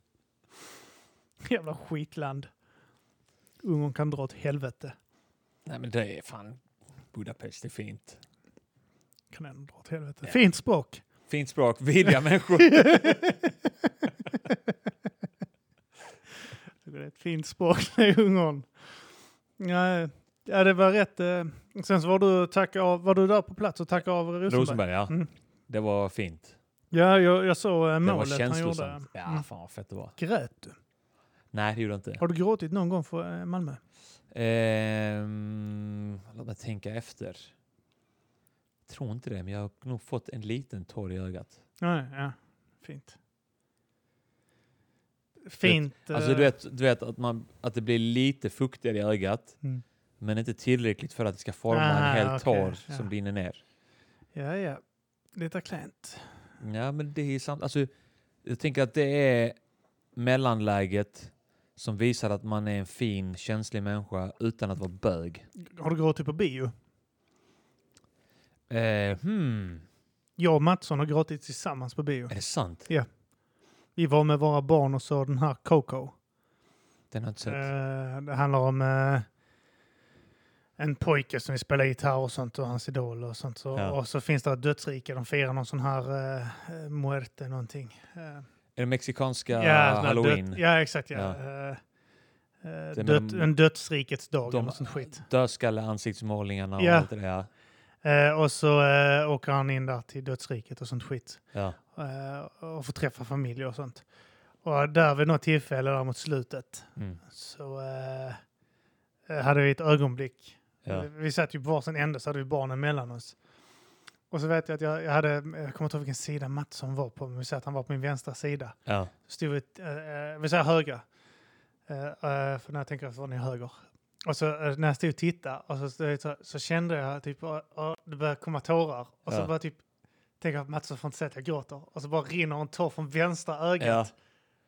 Jävla skitland. Ungern kan dra åt helvete.
Nej men det är fan Budapest, det är fint.
Kan ändå dra åt helvete.
Ja.
Fint språk.
Fint språk, vidriga människor.
Det är ett fint språk i Ungern. Nej, ja, det var rätt. eh, Sen så var du, tack av, var du där på plats och tackade av Rosenberg.
Rosenberg, ja.
Mm.
Det var fint.
Ja, jag, jag såg eh,
Det var
målet han gjorde.
känslosamt.
Mm.
Ja, fan vad fett det var.
Grät du?
Nej, det gjorde jag inte.
Har du gråtit någon gång för eh, Malmö?
Ehm, låt mig tänka efter. Tror inte det, men jag har nog fått en liten tår i ögat.
Nej, ja. Fint. Fint.
Alltså
eh,
du vet, du vet att, man, att det blir lite fuktigare i ögat,
Mm.
men inte tillräckligt för att det ska forma
Ah,
en hel
okej,
tår
ja.
som rinner ner.
Ja, ja. Lite klent.
Ja, men det är sant. Alltså, jag tänker att det är mellanläget som visar att man är en fin, känslig människa utan att vara bög.
Har du gråtit på bio?
Eh, hmm,
Jag och Mattsson har gråtit tillsammans på bio.
är det sant?
Vi var med våra barn och såg den här Coco.
Den har jag inte sett.
Eh, det handlar om eh, en pojke som vill spela gitarr och sånt och hans idol och sånt. Så,
Ja.
Och så finns det ett dödsrike. De firar någon sån här eh, muerte någonting. Eh,
Är det mexikanska
sån här
halloween?
Död, ja, exakt. Ja. Eh,
Ja.
eh,
Det
död,
med-
en dödsrikets dag
de-
eller något sånt skit.
Dödskalle, ansiktsmålningarna
Ja.
och allt det där.
Eh, och så eh, åker han in där till dödsriket och sånt skit.
Ja.
Eh, och får träffa familj och sånt. Och där vid något tillfälle där mot slutet
Mm.
så eh, hade vi ett ögonblick.
Ja.
Vi satt ju på varsin ände så hade vi barnen mellan oss. Och så vet jag att jag, jag hade, jag kommer inte ihåg vilken sida Mattsson var på, men vi säger att han var på min vänstra sida.
Ja.
Så stod vi, eh, eh, vi säger högra. Eh, eh, för när jag tänker efter var ni höger. Och så eh, när jag stod och tittade och så, så, så kände jag typ att det började komma tårar. Och så
Ja.
bara typ, tänker jag Mats får inte se att jag gråter. Och så bara rinner en tår från vänstra ögat.
Ja.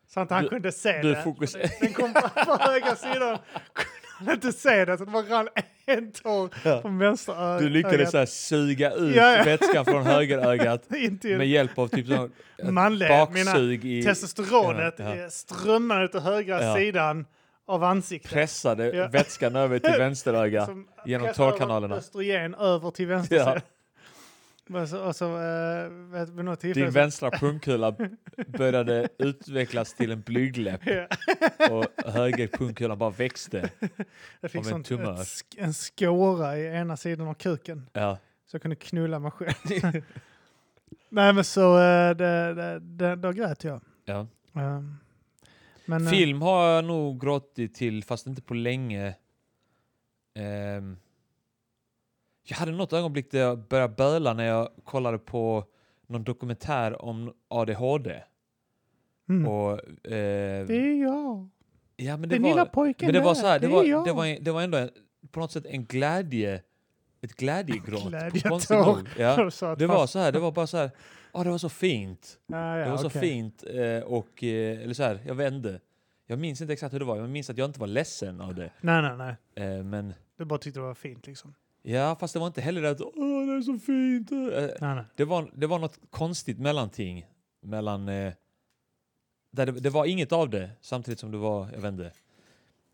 Så att han
Du-
kunde se
du
det.
fokuserar-
Den kom på, på högra sidan. Kunde han inte se det så det bara rann en tår
Ja.
från vänstra ö- ögat.
Du lyckades så här suga ut
Ja, ja.
vätskan från högerögat
Inte
med hjälp av typ sån
Manlig,
baksug i
Testosteronet
Ja, ja.
ja. strömmar ut ur högra
Ja.
sidan av ansiktet.
pressade
Ja.
vätskan över till vänsteröga
Som
genom
pressar över
tårkanalerna.
Östrogen över till vänster.
Ja.
Och så, och så eh, vet, vid något tillfälle...
Din
så-
vänstra pungkula började utvecklas till en blygdläpp
Ja,
och höger pungkula bara växte.
jag fick
Av en
sånt, ett,
tumör.
sk- en skåra i ena sidan av kuken.
Ja.
Så jag kunde knulla mig själv. Nej men så, eh, det, det, det, då grät jag.
Ja.
Ehm, men, eh,
Film har jag nog gråtit till, fast inte på länge. Ehm, jag hade något ögonblick där jag började böla när jag kollade på någon dokumentär om ADHD.
mm.
Och, eh,
Det är jag.
ja, men det
Den lilla
var,
pojken
men det
där,
var så här, det
är
var,
jag.
det var, en- det var ändå en, på något sätt en glädje, ett glädjegråt.
Glädjetår.
på konstigt nog. Ja.
Jag sa att
Det
fast-
var så här, det var bara så här, "Ah, det var så fint.
Ah, ja,
Det var så
okej.
fint eh, och, eh, eller så här, jag vände. Jag minns inte exakt hur det var, jag minns att jag inte var ledsen av det.
Nej, nej, nej.
Eh, men
Du bara tyckte det var fint liksom.
ja, fast det var inte heller det att åh, det är så fint. Eh,
Nej, nej.
det, var, det var något konstigt mellanting. Mellan, eh, där det, det var inget av det, samtidigt som det var, jag vände.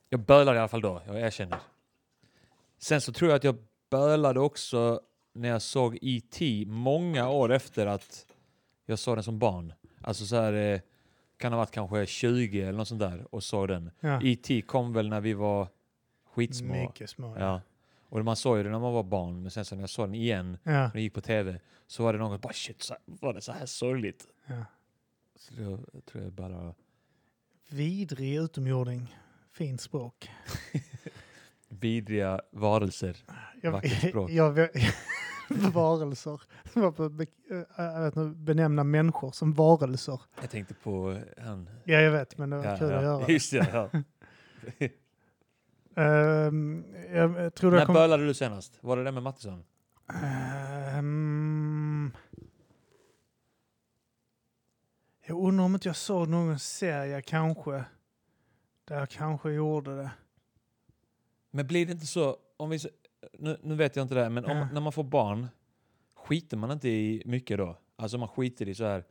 Jag bölade i alla fall då, jag erkänner. Sen så tror jag att jag bölade också när jag såg E.T. många år efter att jag såg den som barn. Alltså så här, eh, kan ha varit kanske 20 eller något sånt där och såg den.
Ja.
E.T. kom väl när vi var skitsmå.
Ah. Mycket små. Ja.
Ja. Och man såg ju det när man var barn, men sen så när jag såg den igen
Ja.
när det gick på tv så var det någon som bara shit, så här, var det så här sorgligt?
Ja.
Så då tror jag bara
Vidrig utomjording. Fint språk.
vidriga varelser.
Jag,
Vackert språk.
jag, varelser. Jag var på be, eh, jag vet inte, benämna människor som varelser.
Jag tänkte på eh, han.
Ja, jag vet, men det var kul att göra.
Just det, ja.
Ehm, jag eh, tror det
När
kom...
bölade du senast? Var det det med Mattisson?
Ehm, jag undrar om inte jag såg någon serie kanske. Där jag kanske gjorde det.
Men blir det inte så, om vi, s- nu, nu vet jag inte det här, men om,
Ja.
när man får barn, skiter man inte i mycket då? Alltså man skiter i så här.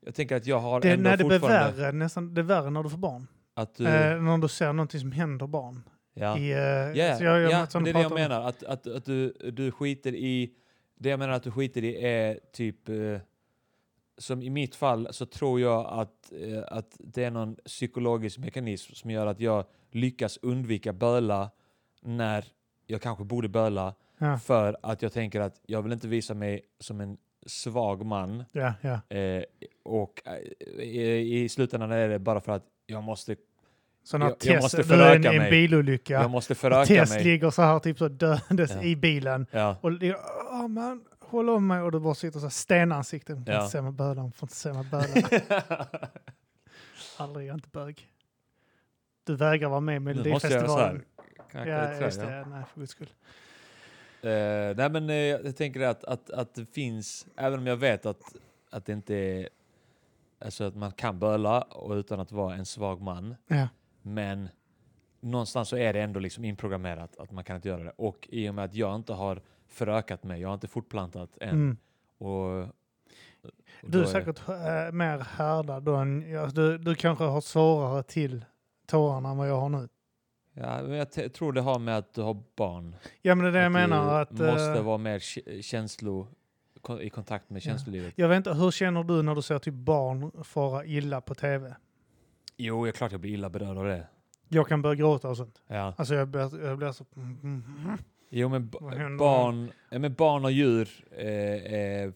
Jag tänker att jag har
Det,
ändå
när det blir
fortfarande
värre, nästan, det är värre när du får barn.
att du...
Eh, när du ser någonting som händer barn.
ja.
I, eh,
Ja,
så jag, jag,
ja
som
det är det
pratar
alltså, jag
om-
menar. Att, att, att du, du skiter i... Det jag menar att du skiter i är typ... Eh, som i mitt fall så tror jag att, eh, att det är någon psykologisk mekanism som gör att jag lyckas undvika böla när jag kanske borde böla.
Ja,
För att jag tänker att jag vill inte visa mig som en svag man.
ja, ja.
Eh, och eh, i, i slutändan är det bara för att jag måste,
Så när
Jag- jag
Tess
måste
du är
föröka
i en
mig. jag
bilolycka.
måste
och
föröka
Tess
mig.
ligger så här typ så döendes
Ja.
i bilen.
Ja.
Och ligger, åh man, håll om mig. Och du bara sitter så här stenansikte. Får
Ja.
inte se mig böla, får inte se mig böla. Aldrig, jag är inte bög. Du vägrar vara med i
Nu måste jag göra så
Melodifestivalen.
här. Knacka
Ja,
i trä,
just
ja.
det. Ja. Nej, för guds skull.
Eh, nej, men eh, jag tänker att, att, att det finns, även om jag vet att, att det inte är, alltså att man kan böla och utan att vara en svag man,
Ja.
men någonstans så är det ändå liksom inprogrammerat att man kan inte göra det. Och i och med att jag inte har förökat mig, jag har inte fortplantat än.
Mm.
Och, och då
Du är säkert eh, mer härdad då än, ja, du, du kanske har svårare till tårarna än vad jag har nu.
Ja, men jag t- tror det har med att du har barn.
Ja men det är det jag menar
du
att...
måste
eh,
vara mer k- känslo, kon- i kontakt med
Ja.
känslolivet.
jag vet inte, hur känner du när du ser typ barn fara illa på tv?
Jo, jag är klart jag blir illa berörd av det.
Jag kan börja gråta och sånt.
Ja.
Alltså jag blir, jag blir så... Mm, mm,
Jo, men,
Vad händer
ba-
då?
barn, ja, men barn och djur eh, eh,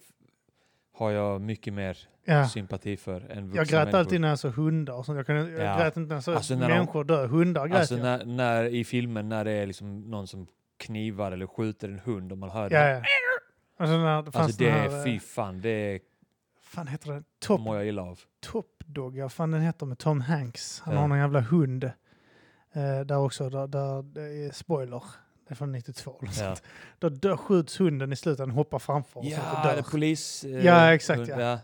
har jag mycket mer
ja.
sympati för än vuxna
Jag grät
människor.
alltid när jag såg hundar och sånt. Jag, kan, jag
Ja.
grät inte när jag såg
Alltså, när de-
människor dö. Hundar grät
alltså,
jag.
när, när, i filmen när det är liksom någon som knivar eller skjuter en hund och man hör
Ja,
det.
ja. Alltså när det fanns
Alltså det
den här...
är
eh,
fy fan, det
fan heter den? Top,
mår jag illa av.
Top Dog, ja fan den heter med Tom Hanks. Han
Ja.
har någon jävla hund. Eh, där också, där, där, det är spoiler. Det är från 92 eller
Ja,
sånt. Då dör, skjuts hunden i slutet, den hoppar framför och sånt och
ja
dör.
det är polis... eh,
Ja, exakt,
hund,
ja.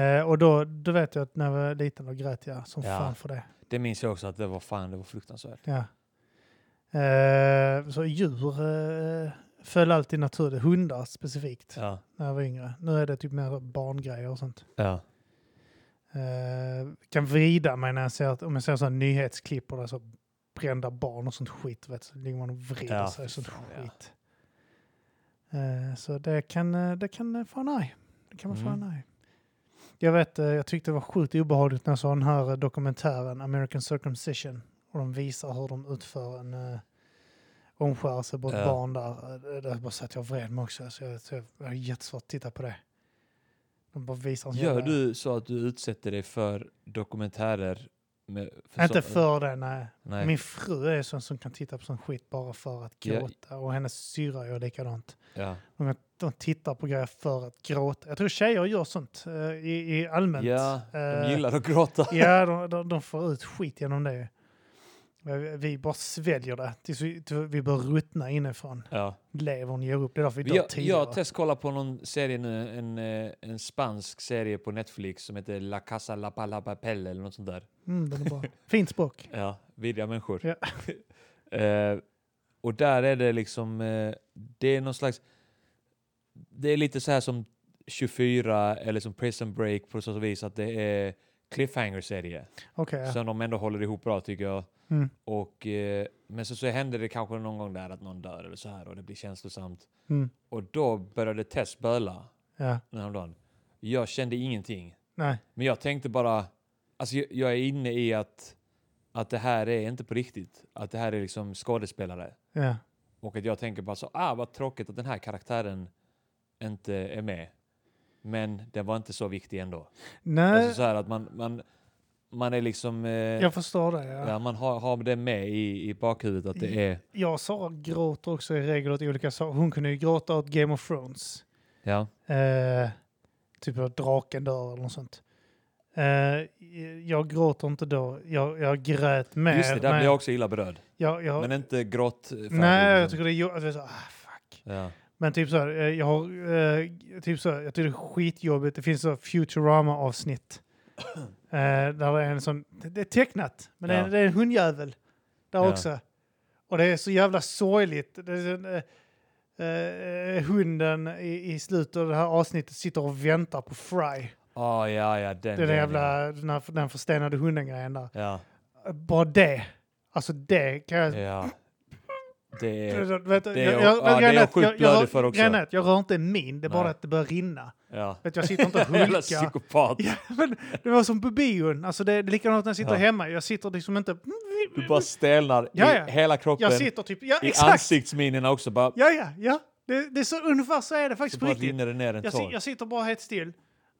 Eh, och då, då vet jag att när jag var liten då grät jag som
Ja.
fan för det.
Det minns jag också att det var fan, det var fruktansvärt.
Ja. Eh, så djur eh, föll alltid naturligt, hundar specifikt,
Ja,
när jag var yngre. Nu är det typ mer barngrejer och sånt.
ja.
Eh, kan vrida mig när jag ser att, om jag ser sådana nyhetsklipp och det är så brända barn och sånt skit. Vet, du, så ligger man och vrider
Ja,
sig och sånt
fy fan, ja.
skit. Eh, så det kan, eh, det kan eh, få en arg. Det kan man få
Mm.
en arg. Jag vet, eh, jag tyckte det var sjukt obehagligt när jag såg den här eh, dokumentären American Circumcision. Och de visar hur de utför en eh, omskärelse på ett
Ja.
barn där. Eh, Det är bara så att jag vred mig också. Så jag, så jag, jag har jättesvårt att titta på det. De bara visar en
Gör
jävla-
du så att du utsätter dig för dokumentärer? Med,
Inte
så-
för det, nej.
Nej.
Min fru är sån som kan titta på sån skit bara för att
Ja.
gråta. Och hennes syrra gör likadant.
Ja.
De, de tittar på grejer för att gråta. Jag tror tjejer gör sånt eh, i, i allmänt.
Ja,
Eh,
de gillar att gråta.
Ja, de, de, de får ut skit genom det. Vi- Vi bara sväljer det tills vi, till vi börjar ruttna inifrån.
Ja.
Levern ger upp. Det är därför vi dör
Jag,
tidigare.
jag testkollar på någon serie nu, en, eh, en spansk serie på Netflix som heter La Casa La Palapapel eller något sånt där.
mm, den är bra. Fint språk.
Ja, vidriga människor.
Ja.
eh, och där är det liksom, eh, det är någon slags, det är lite så här som 24 eller som Prison Break på så vis att det är cliffhanger-serie
Okej, ja.
som de ändå håller ihop bra tycker jag.
Mm,
Och, eh, men så, så händer det kanske någon gång där att någon dör eller så här och det blir känslosamt.
mm,
Och då började Tess böla
ja.
häromdagen. Jag kände ingenting.
Nej,
Men jag tänkte bara, alltså jag, jag är inne i att, att det här är inte på riktigt. Att det här är liksom skådespelare.
ja.
Och att jag tänker bara så, ah vad tråkigt att den här karaktären inte är med. Men den var inte så viktig ändå.
Nej,
Alltså så här att man, man, man är liksom, eh, ja.
jag förstår det. Ja.
man har, har det med i, i bakhuvudet att det är,
Jag och Sara gråter också i regel åt olika saker. Hon kunde ju gråta åt Game of Thrones.
ja.
Eh, typ att draken dör eller något sånt. Eh, jag gråter inte då. Jag, jag grät mer.
Just det, där
men
blir jag också illa berörd.
jag, jag,
Men inte grått. eh,
Nej, jag
liksom.
tycker det är... jo- att det är så, ah, fuck.
ja.
Men typ så här, eh, jag har... Eh, typ så här, jag tycker det är skitjobbigt. Det finns så här Futurama-avsnitt. eh, där det är en som... Det är tecknat, men det,
Ja.
är, det är en hundjävel där
Ja.
också. Och det är så jävla sorgligt. Det är, den, eh, eh, hunden i, i slutet av det här avsnittet sitter och väntar på Fry.
Ah, ja, ja, den,
Den
den,
jävla, den, här, den förstenade hunden-grejen där.
Ja,
Bara det. Alltså det kan jag...
ja. ja. Det är...
Vet du,
Eh, det är-
jag-
ja, det är
jag- grejen är
jag
att jag-
sjukt blödig
jag-
för också.
grejen är att Jag rör inte min, det är bara
Nej.
att det börjar rinna.
Ja.
Vet, du, jag sitter inte och
Jävla
hulkar.
psykopat.
Ja, men det var som på bion. Alltså det är likadant när jag sitter
Ja.
hemma. Jag sitter liksom inte...
Du bara stelnar
Ja,
i
ja.
hela kroppen.
Jag sitter typ... Ja,
I
exakt!
ansiktsminnena också. Bara,
Ja, ja, ja. Det, det är så, ungefär så är det faktiskt på
bara
riktigt.
rinner det ner en
Jag, si-
tår.
jag sitter bara helt still,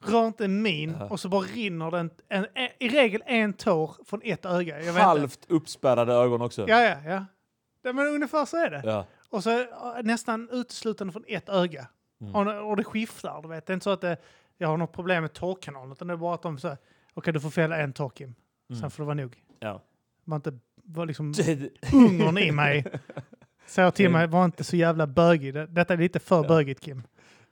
rör inte en min och så bara rinner den en, en, i regel en tår från ett öga. Jag vet Inte.
Halvt uppspärrade ögon också.
Ja, ja, ja. Det, men ungefär så är det.
Ja.
Och så eh, nästan uteslutande från ett öga.
Mm.
Och, och det skiftar, du vet. Det är inte så att det, jag har något problem med tårkanalen, utan det är bara att de säger okej du får fälla en tår Kim,
Mm.
sen får det vara nog.
Ja.
Man inte var liksom
Det-
ungern i mig säger till mig, var inte så jävla bögig. Det- Detta är lite för bögigt Kim.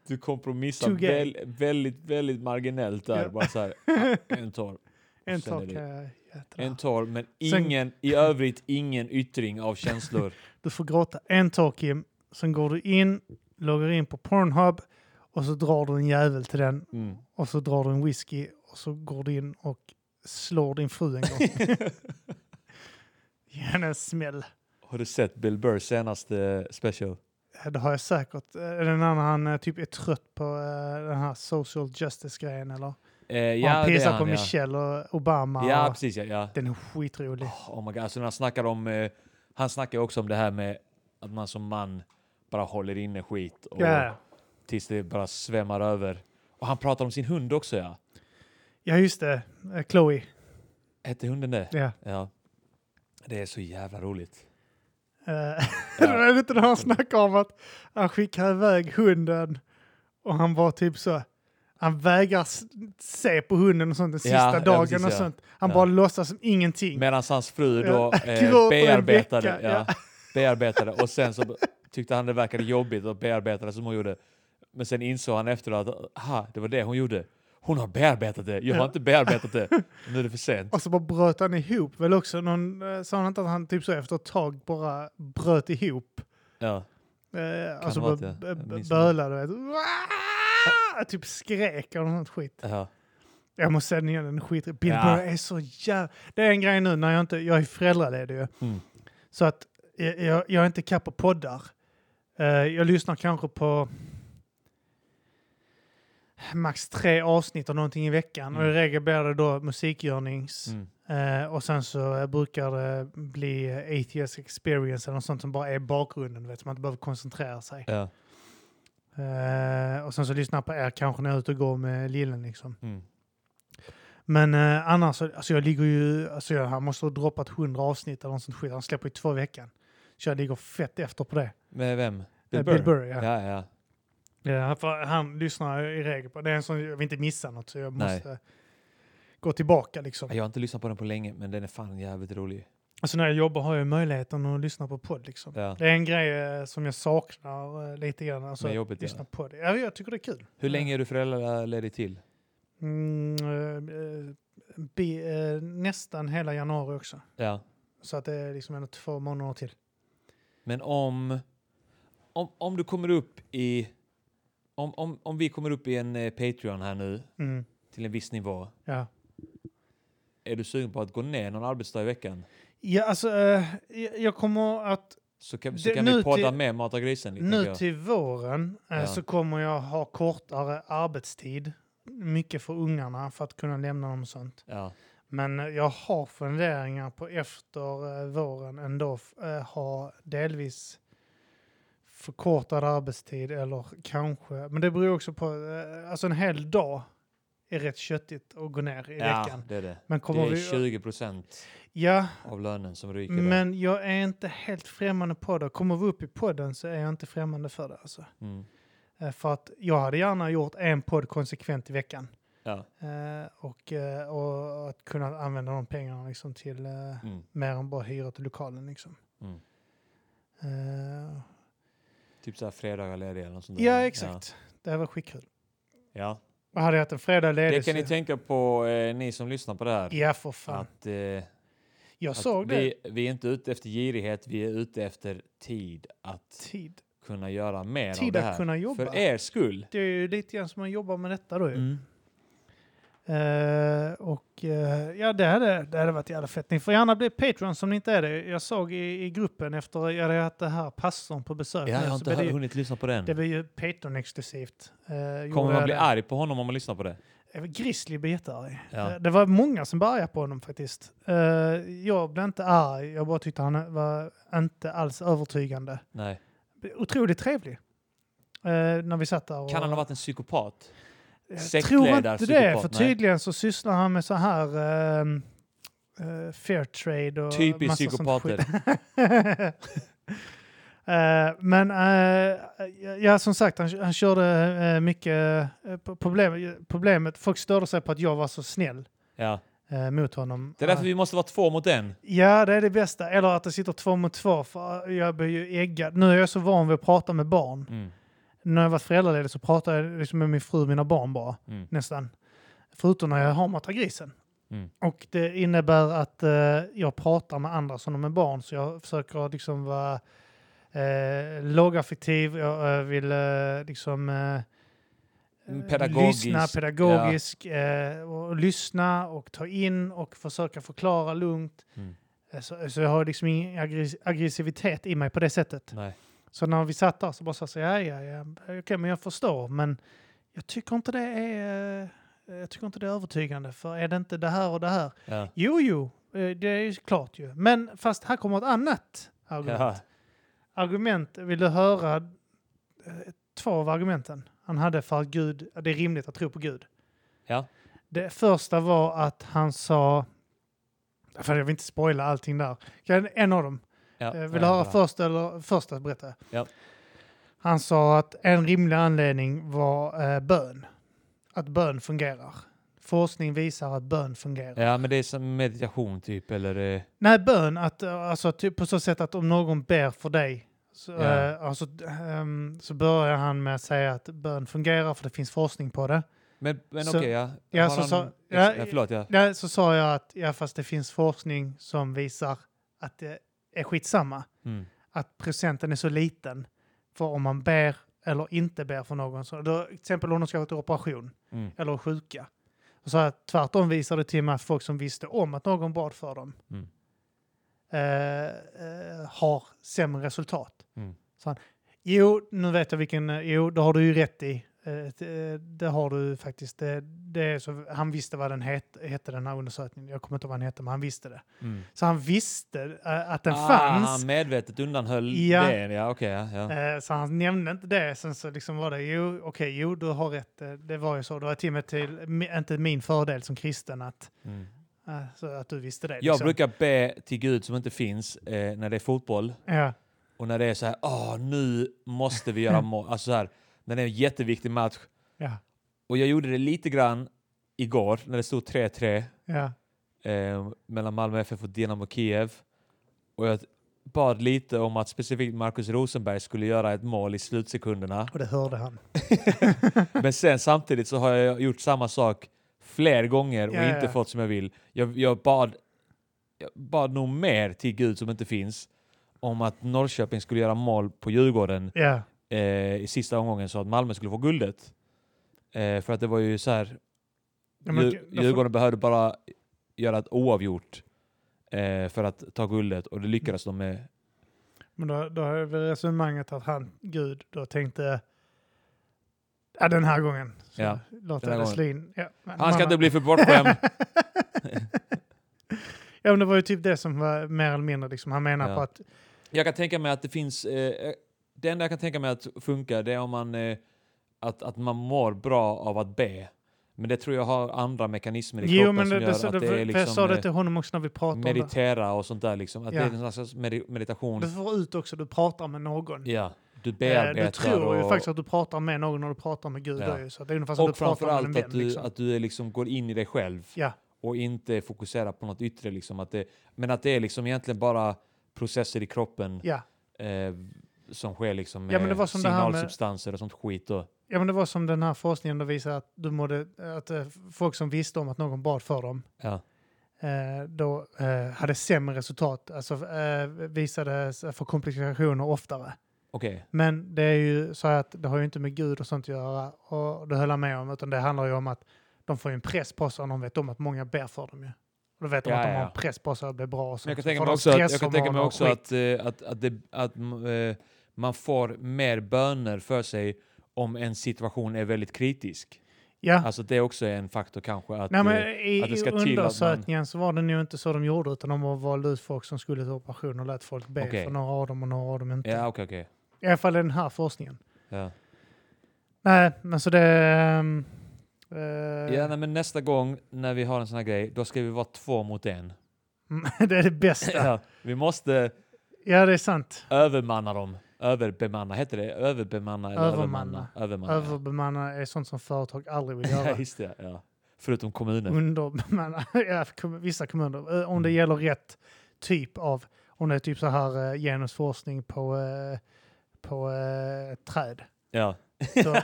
Du kompromissar
Too gay.
väl, väldigt, väldigt marginellt där.
Ja.
Bara så här, ja, en tår.
En
Sen är
tår
det-
kan jag äta.
En tår, men
Sen-
ingen, i övrigt ingen yttring av känslor.
Du får gråta en tår Kim, sen går du in, loggar in på Pornhub och så drar du en jävel till den
Mm.
och så drar du en whisky och så går du in och slår din fru en gång. Ge henne en smäll.
Har du sett Bill Burrs senaste special?
Ja, Det har jag säkert. Eh, Är det när han eh, typ är trött på eh, den här social justice-grejen eller?
Eh,
Och
ja,
han
det är
pissar på
ja.
Michelle och Obama.
Ja,
och
precis. Ja, ja.
den är skitrolig.
Oh my God. Alltså, när han snackar om... Eh, han snackar ju också om det här med att man som man bara håller inne skit och,
Ja.
tills det bara svämmar över. Och han pratar om sin hund också, ja.
ja, just det. Eh, Chloe.
Hette hunden det?
Ja.
Ja. Det är så jävla roligt.
Eh, det är inte när han snackar om att han skickar iväg hunden och han var typ så, han vägrar s- se på hunden och sånt den
Ja,
sista
ja,
dagen
precis,
och
ja.
sånt. Han
Ja.
bara låtsas som ingenting.
Medan hans fru då
Ja. Gråter
eh,
en
bearbetade,
vecka,
ja, bearbetade och sen så tyckte han det verkade jobbigt att bearbeta det som hon gjorde. Men sen insåg han efteråt att aha, det var det hon gjorde. Hon har bearbetat det, jag har
Ja.
inte bearbetat det. Nu är det för sent.
Och så Alltså, bara bröt han ihop väl också. Någon, eh, sa han inte att han typ så efter ett tag bara bröt ihop?
Ja.
Eh, alltså
vara
bara
att jag-
b-
jag
b-
minns
bölade. vet du. Waaah! Typ skrek eller något skit.
Ja.
Jag måste säga den igen, den är skit. Bill
Ja.
Burr är så jävla... Det är en grej nu när jag inte... Jag är föräldraledig ju.
Mm.
Så att jag, jag, jag är inte kapp på poddar. Eh, jag lyssnar kanske på max tre avsnitt av någonting i veckan. Och i
Mm.
regel blir det då musikgörnings.
Mm.
Eh, och sen så eh, brukar det bli Atheist Experience eller något sånt som bara är bakgrunden. du Vet, så man inte behöver koncentrera sig.
Ja.
Eh, och sen så lyssnar jag på er kanske när jag är ute och går med lillen liksom.
Mm.
Men eh, annars, så- alltså jag ligger ju, alltså jag, han måste ha droppat 100 avsnitt eller något sånt skit. Han släpper ju två i veckan. Så jag ligger fett efter på det.
Med vem?
Eh, Bill Burr ja.
Ja, ja.
ja. För han lyssnar jag i regel på. Det är en sån, jag vill inte missa något så jag
Nej.
måste eh, gå tillbaka liksom.
Jag har inte lyssnat på den på länge, men den är fan jävligt rolig.
Alltså när jag jobbar har jag möjligheten att lyssna på podd liksom.
Ja.
Det är en grej eh, som jag saknar eh, lite grann. Alltså,
Med jobbet, ja.
lyssna på det. Ja, jag tycker det är kul.
Hur länge är du föräldraledig till?
Mm, eh, eh, bi, eh, nästan hela januari också.
Ja.
Så att det är liksom ändå två månader till.
Men om, om, om du kommer upp i... Om, om, om vi kommer upp i en eh, Patreon här nu,
Mm,
till en viss nivå.
ja.
Är du sugen på att gå ner någon arbetsdag i veckan?
Ja, alltså, eh, jag- jag kommer att
Så kan, så
Det-
kan
nu
vi podda
till-
med Mata Grisen lite. tänker
nu
jag.
till våren eh,
Ja.
så kommer jag ha kortare arbetstid. Mycket för ungarna för att kunna lämna dem och sånt.
Ja.
Men eh, jag har funderingar på efter eh, våren ändå f- eh, ha delvis förkortad arbetstid eller kanske, men det beror också på, eh, alltså en hel dag är rätt köttigt att gå ner i
ja,
veckan.
det är det.
Men
Det
kommer
är
vi...
20 procent
Ja,
av lönen som ryker. där.
Men jag är inte helt främmande på det. Kommer vi upp i podden så är jag inte främmande för det. Alltså.
Mm.
Eh, För att jag hade gärna gjort en podd konsekvent i veckan.
Ja.
Eh, och, eh, och att kunna använda de pengarna liksom till eh,
Mm.
mer än bara hyra till lokalen. Liksom.
Mm.
Eh,
Typ så här fredagar ledig eller något sånt där.
ja, exakt. Det här var skitkul.
Ja.
Och hade jag haft en fredag
Ja. Det
ledig
kan ni
så-
tänka på, eh, ni som lyssnar på det här.
Ja, för fan.
Att, eh,
Jag
Att
såg det.
vi, vi är inte ute efter girighet, vi är ute efter tid att
Tid.
kunna göra mer av
Tid
det
att
här.
kunna jobba.
För er skull.
Det är ju lite grann som man jobbar med detta då ju.
Mm.
Eh, och eh, ja, det hade, det hade varit jävla fett. Ni får gärna bli Patreon som ni inte är det. Jag såg i, i gruppen efter jag hade haft det här pastorn på besök.
Ja, jag
nu,
har
så
inte
blev det, ju-
hunnit lyssna på den.
det blir ju Patreon-exklusivt. Eh, gjorde
Kommer man
jag
bli
det.
arg på honom om man lyssnar på det?
Eh, Grizzly blir jättearg.
Ja.
Eh, Det var många som började på honom faktiskt. Eh, Jag blev inte arg, jag bara tyckte han var inte alls övertygande.
Nej.
Otroligt trevlig. Eh, När vi satt där. Och,
Kan han ha varit en psykopat?
Jag Eh, tror inte det,
sektledarpsykopat?
för
Nej.
tydligen så sysslar han med så här uh, fair trade och
Typiskt
massa sånt skit.
psykopater.
Eh, men eh, ja, som sagt, han, han körde eh, mycket eh, på- problem, problemet. Folk störde sig på att jag var så snäll
Ja.
eh, mot honom.
Det är därför
Eh,
vi måste vara två mot en.
Ja, det är det bästa. Eller att det sitter två mot två, för jag blir ju äggad. Nu är jag så van vid att prata med barn.
Mm.
När jag varit föräldraledig så pratar jag liksom med min fru och mina barn bara,
Mm.
nästan. Förutom när jag har matat grisen.
Mm.
Och det innebär att eh, jag pratar med andra som de är barn, så jag försöker liksom vara eh, lågaffektiv. Jag eh, vill eh, liksom eh, eh,
Pedagogisk.
lyssna pedagogisk, eh, och lyssna och ta in och försöka förklara lugnt.
Mm.
Eh, Så, så jag har liksom ingen aggres- aggressivitet i mig på det sättet.
Nej.
Så när vi satt där så bara sa jag så här, ja, ja, ja, okej, men jag förstår, men jag tycker inte det är, eh, jag tycker inte det är övertygande, för är det inte det här och det här?
Ja.
Jo, jo, eh, det är ju klart ju, men fast här kommer ett annat argument.
Ja.
Argument, vill du höra eh, två av argumenten han hade för att Gud, det är rimligt att tro på Gud?
Ja.
Det första var att han sa, för jag vill inte spoila allting där, Kan- en av dem,
Ja.
Eh, Vill
Nej,
du höra
bra.
först eller första berätta?
Ja.
Han sa att en rimlig anledning var eh, bön. Att bön fungerar. Forskning visar att bön fungerar.
Ja, men det är som meditation typ, eller... eh,
Nej, bön, att, eh, alltså, typ på så sätt att om någon ber för dig så,
Ja.
eh, alltså, ehm, så börjar han med att säga att bön fungerar för det finns forskning på det.
Men, men
Så-
okej, ja.
ja,
Har
så-
han-
så- ja,
ex- ja, förlåt, ja.
Nej, så sa jag att ja, fast det finns forskning som visar att det är skitsamma.
Mm.
att procenten är så liten för om man ber eller inte ber för någon. Så, då, till exempel om de ska ha en operation
Mm.
eller är sjuka. Och så här, tvärtom visar det till mig att folk som visste om att någon bad för dem
Mm.
eh, eh, har sämre resultat.
Mm.
Så han, jo, nu vet jag vilken, eh, jo, det har du ju rätt i. Eh, det, eh, det har du faktiskt. Det, det är så, han visste vad den het, hette, den här undersökningen. Jag kommer inte ihåg vad den hette, men han visste det.
Mm.
Så han visste eh, att den
ah,
fanns.
Han medvetet undanhöll
Ja.
det. Ja, okej, ja. ja.
Eh, Så han nämnde inte det. Sen så liksom var det ju, okej, jo, du har rätt. eh, Det var ju så. Det var till och med till, mi- inte min fördel som kristen att,
Mm.
eh, så att du visste det.
Jag
liksom.
brukar be till Gud som inte finns eh, när det är fotboll
Ja,
och när det är så här, ah, nu måste vi göra mål. Alltså så här, när det är en jätteviktig match.
ja,
Och jag gjorde det lite grann igår när det stod 3-3
ja.
eh, mellan Malmö FF och Dynamo Kiev. Och jag bad lite om att specifikt Marcus Rosenberg skulle göra ett mål i slutsekunderna.
Och det hörde han.
Men sen samtidigt så har jag gjort samma sak fler gånger och
Ja, ja,
inte
ja.
fått som jag vill. Jag, jag, bad, jag bad nog mer till Gud som inte finns om att Norrköping skulle göra mål på Djurgården
Ja,
eh, i sista omgången så att Malmö skulle få guldet. Eh, för att det var ju så här,
Ja, men
Djur,
då får-
Djurgården behövde bara göra ett oavgjort eh, för att ta guldet och det lyckades de med.
men då, då är väl resonemanget att han, Gud, då tänkte, ja, den här gången. Så
Ja,
låt
den här
det
gången.
slå in. Ja, men
Han ska
man-
inte bli för bortskämd.
ja, men det var ju typ det som var mer eller mindre, liksom. han menar
Ja.
på att,
Jag kan tänka mig att det finns... Eh, det enda jag kan tänka mig att funka det är om man, eh, att, att man mår bra av att be. Men det tror jag har andra mekanismer i
jo
kroppen
men
som
det,
gör
det, det,
att det är
för jag
liksom,
sa det till
eh,
honom också när vi pratade om det.
meditera och sånt där. Liksom. Att
Ja.
Det är en slags medi- meditation.
Du får ut också, du pratar med någon.
Ja, du
Eh,
bearbetar
Du tror ju
och,
faktiskt att du pratar med någon när du pratar med Gud.
Ja.
då ju, Så att det är ungefär som
och
du pratar med en
framförallt
vän.
att du,
liksom.
att du är liksom går in i dig själv.
ja.
och inte fokusera på något yttre. Liksom, att det, men att det är liksom egentligen bara processer i kroppen
Ja.
eh, som sker liksom med
Ja, men det var som det här med-
signalsubstanser och sånt skit. Och,
ja, men det var som den här forskningen då visade att, du mådde, att eh, folk som visste om att någon bad för dem
ja.
eh, då eh, hade sämre resultat, alltså eh, visade sig för komplikationer oftare.
Okej.
Men det är ju så att det har ju inte med Gud och sånt att göra, och det höll jag med om, utan det handlar ju om att de får ju en press på sig och de vet om att många ber för dem ju. Och då vet de
Ja,
att de
ja,
har
ja.
en press på sig att bli bra och sånt.
Men jag kan
Så
tänka
får
mig
de
också, att,
stresshormoner
jag kan tänka mig
och skit.
också att, eh, att, att, det, att mm, eh, man får mer böner för sig om en situation är väldigt kritisk.
Ja.
Alltså det är också en faktor kanske. Att,
Nej, men
eh,
i,
att det ska
I
till att man-
undersökningen så var det nog inte så de gjorde, utan de valde ut folk som skulle till operation och lät folk be
Okej.
för några av dem och några av dem inte.
eh, ja, okej, okej.
I alla fall i den här forskningen.
Ja.
Nej, men så det... ehm, eh,
Ja, nej, men nästa gång när vi har en sån här grej, då ska vi vara två mot en.
det är det bästa.
Ja. Vi måste
ja, det är sant.
övermanna dem. Överbemanna, heter det? Överbemanna eller
Övermanna.
övermanna? Övermanna. ja.
Överbemanna är sånt som företag aldrig vill
Ja,
göra.
just det. Ja. Förutom
Mm.
kommunen.
Underbemanna, ja, kom- vissa kommuner. Eh, Om det
Mm.
gäller rätt typ av, om det är typ så här eh, genusforskning på, eh, på eh, träd.
Ja.
Så,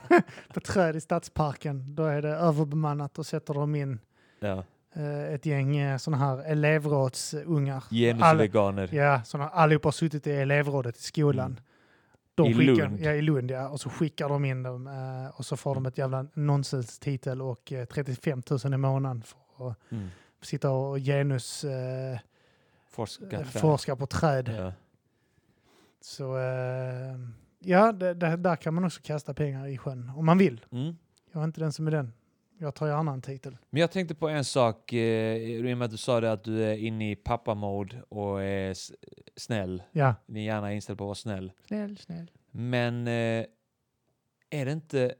på träd i stadsparken, då är det överbemannat och sätter de in
ja.
eh, ett gäng sådana här elevrådsungar.
Genusveganer.
Ja, sådana allihopa har suttit i elevrådet i skolan.
Mm.
De
I
skickar,
Lund.
Ja, i Lund ja. Och så skickar de in dem eh, och så får de ett jävla nonsenstitel och eh, 35 000 i månaden för att
Mm.
sitta och genus eh,
Forskat.
forska på träd.
Ja.
Så eh, ja, det, det, där kan man också kasta pengar i sjön om man vill.
Mm.
Jag är inte den som är den. Jag tar gärna en titel.
Men jag tänkte på en sak, eh, i och med att du sa det att du är inne i pappamode och är s- snäll.
Ja.
Din hjärna är inställd på att vara snäll.
Snäll, snäll.
Men eh, är det inte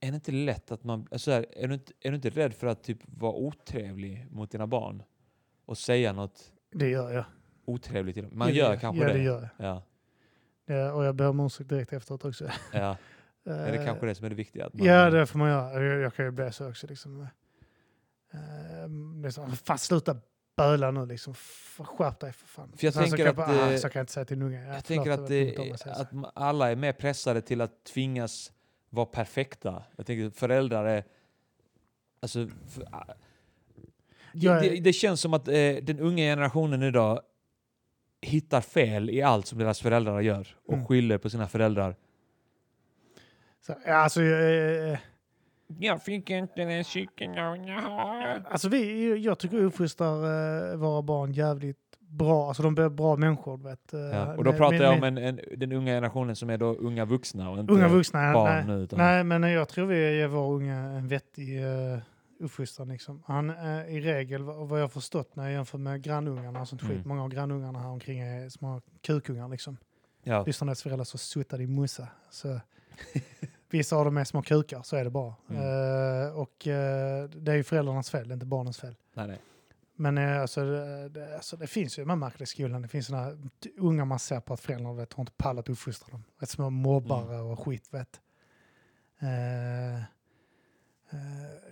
är det inte lätt att man... Alltså här, är, du inte, är du inte rädd för att typ vara otrevlig mot dina barn? Och säga något
Det gör jag.
otrevligt till dem? Man
Ja, det
gör kanske
ja,
det.
det gör jag.
Ja,
Ja, och jag ber om ursäkt direkt efteråt också.
ja. Är det
Eh,
kanske det som är det viktiga? Att man,
Ja, det får man göra. Jag, jag kan ju bli så också. Liksom. Eh, det är så, fan sluta böla nu liksom. F- Skärp dig för fan.
För jag
Sen så
tänker
kan
att,
bara, ah,
eh,
så kan jag inte säga till en unge. Ja,
Jag tänker
förlåt,
att,
det var dumt av
det,
mig att säga så.
att ma- alla är mer pressade till att tvingas vara perfekta. Jag tänker att föräldrar är... Alltså, för, ah,
Jag är-
det, det känns som att eh, den unga generationen idag hittar fel i allt som deras föräldrar gör och
Mm.
skyller på sina föräldrar.
Så, ja, alltså, eh,
Jag fick inte den cykeln jag har.
alltså vi, jag tycker vi uppfostrar eh, våra barn jävligt bra. Alltså de blir bra människor. du Vet. Eh,
Ja, och då
men-
pratar
men-
jag
men-
om en, en, den unga generationen som är då unga vuxna och inte
Unga vuxna, ja,
barn
nej.
nu. Utan,
Nej, men jag tror vi ger vår unge en vettig uh, uppfostran. Liksom. Han är i regel, vad vad jag har förstått när jag jämför med grannungarna och sånt
Mm.
skit, många av grannungarna här omkring är små kukungar. Liksom.
Ja,
Lyssnar deras föräldrar så suttar i mussa. Så, vissa av dem är små kukar, så är det bara.
Mm.
Eh, och eh, det är ju föräldrarnas fel, det är inte barnens fel.
nej, nej.
Men eh, alltså, det, det, alltså, det finns ju, man märker det i skolan, det finns sådana unga man ser på att föräldrarna vet, har inte pallat uppfostra dem. Vet, små mobbare och skit. Vet. Eh, eh,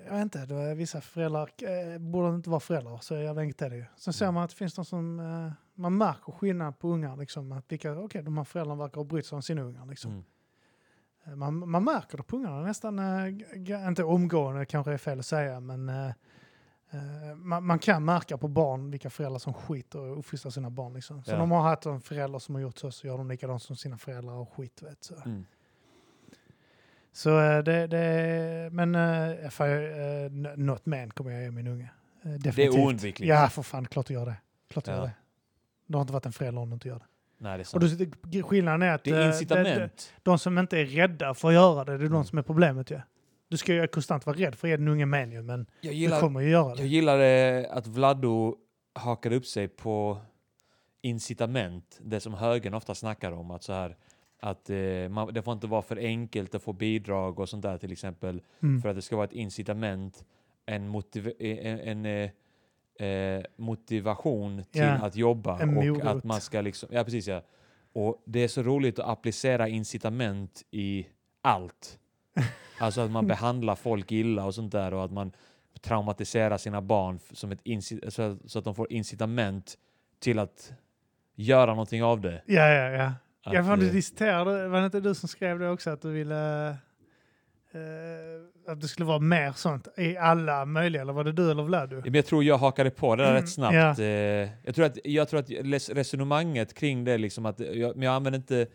jag vet inte, då är vissa föräldrar eh, borde inte vara föräldrar, så jag vet inte det ju. Sen ser
Mm.
man att det finns de som, eh, man märker skillnad på ungar, liksom, att vilka, okej, de här föräldrarna verkar ha brytt sig om sina ungar. Liksom.
Mm.
Eh, Man, man märker det på ungarna nästan, eh, g- g- inte omgående kanske är fel att säga, men eh, eh, man, man kan märka på barn vilka föräldrar som skiter och uppfostrar sina barn. Liksom. Så
Ja.
de har haft en förälder som har gjort så, så gör de likadant som sina föräldrar och skit. Vet, så.
Mm.
Så eh, det, det men eh, för, eh, n- något men kommer jag ge min unge. Eh,
Det är
definitivt.
oundvikligt.
Ja, för fan, klart du gör det. Klart du
Ja.
gör det. Du har inte varit en förälder om du inte gör det.
Nej, det är
Och
sant.
då, sitter- skillnaden är att
Det är
eh, det- det-
incitament.
de som inte är rädda för att göra det, det är de
Mm.
som är problemet ju. Du ska ju konstant vara rädd för att ge den unge med ju, men
Jag
du
gillar
kommer ju göra det.
Jag gillar eh, att Vladdo hakade upp sig på incitament, det som högern ofta snackar om. Att, så här, att eh, man, det får inte vara för enkelt att få bidrag och sånt där till exempel.
Mm.
För att det ska vara ett incitament, en, motiv- eh, en, en eh, eh, motivation till
Ja,
att jobba.
en
och
morot.
att man ska liksom, ja, precis, ja. Och det är så roligt att applicera incitament i allt. Alltså att man behandlar folk illa och sånt där och att man traumatiserar sina barn f- som ett inci- så, att, så att de får incitament till att göra någonting av det.
Ja, ja, ja.
Att,
jag fan, du
eh,
diskuterade, var det inte du som skrev det också, att du ville... eh, eh, att det skulle vara mer sånt i alla möjliga, eller var det du eller Vladu?
Men jag tror jag hakade på det där
Mm,
rätt snabbt.
ja.
Eh, Jag tror att, jag tror att les- resonemanget kring det, liksom att jag, men jag använde inte...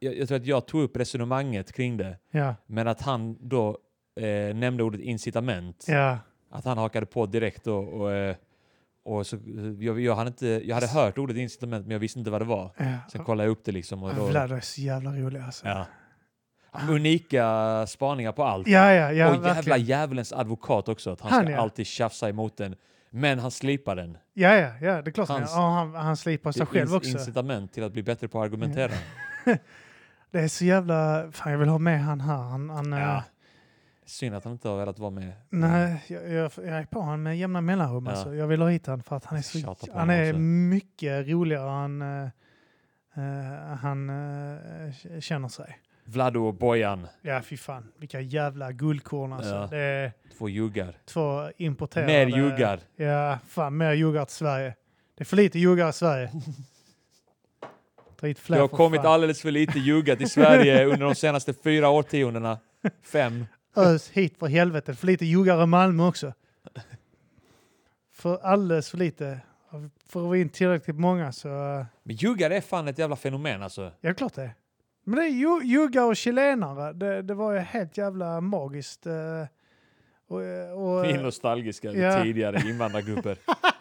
Jag, jag tror att jag tog upp resonemanget kring det,
Ja,
men att han då eh, nämnde ordet incitament.
ja.
Att han hakade på direkt och... och, eh, och så, jag, jag, hade inte, jag hade hört ordet incitament, men jag visste inte vad det var. Sen
ja.
kollade jag upp det liksom. Och då,
Vladu är så jävla rolig alltså.
ja. Unika spaningar på allt.
Ah. Ja, ja, ja,
och jävla
verkligen.
djävulens advokat också. Att han,
Han,
ska
ja.
alltid tjafsa emot den. Men han slipar den.
Ja, ja, ja, det är klart.
Hans-
ja, han, han slipar sig
Det
själv
finns
också.
incitament till att bli bättre på att argumentera.
Det är så jävla... Fan, jag vill ha med han här. Han, han, eh,
Ja. Synd att han inte har velat vara med.
Nej, jag, jag, jag är på honom med jämna mellanrum.
Ja.
Alltså. Jag vill ha hit honom för att han är, så,
Tjata på
han
honom
är
också.
mycket roligare än eh, eh, han eh, k- känner sig.
Vlado och Bojan,
Ja, fy fan. Vilka jävla guldkorn alltså.
Ja.
Det är
två juggar.
två importerade...
Mer juggar.
Ja, fan. Mer juggar till Sverige. Det är för lite juggar i Sverige. Drit
Det
fler
har
för
kommit
fan.
alldeles för lite juggat i Sverige under de senaste fyra årtiondena. Fem.
Ös hit för helvete. För lite juggar i Malmö också. För alldeles för lite. Får vi in tillräckligt många så... eh,
Men juggar är fan ett jävla fenomen alltså.
Ja, klart det. Men det är ju, juggar och chilenare. Det, det var ju helt jävla magiskt. eh, Och, eh, och,
Vi är
eh,
nostalgiska
Ja.
ja. tidigare invandrargrupper.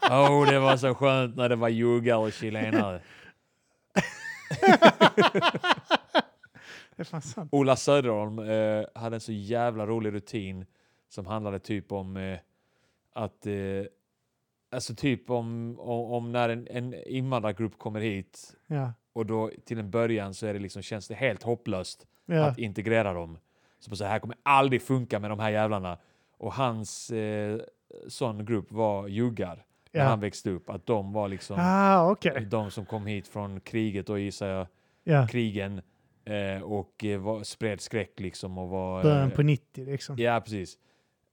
Åh, oh, det var så skönt när det var juggar och chilenare.
det är eh, fan sant.
Ola Söderholm eh, hade en så jävla rolig rutin som handlade typ om eh, att eh, alltså typ om, om, om när en, en invandrargrupp kommer hit
Ja.
och då till en början så är det liksom, känns det helt hopplöst
Ja.
att integrera dem. Så på så här kommer aldrig funka med de här jävlarna. Och hans eh, sån grupp var juggar när han
ja.
växte upp. Att de var liksom
Ah, okej.
de som kom hit från kriget och gissar jag
Ja.
krigen eh, och eh, var, spred skräck liksom och var...
Början
eh,
på 90 liksom.
Ja, precis.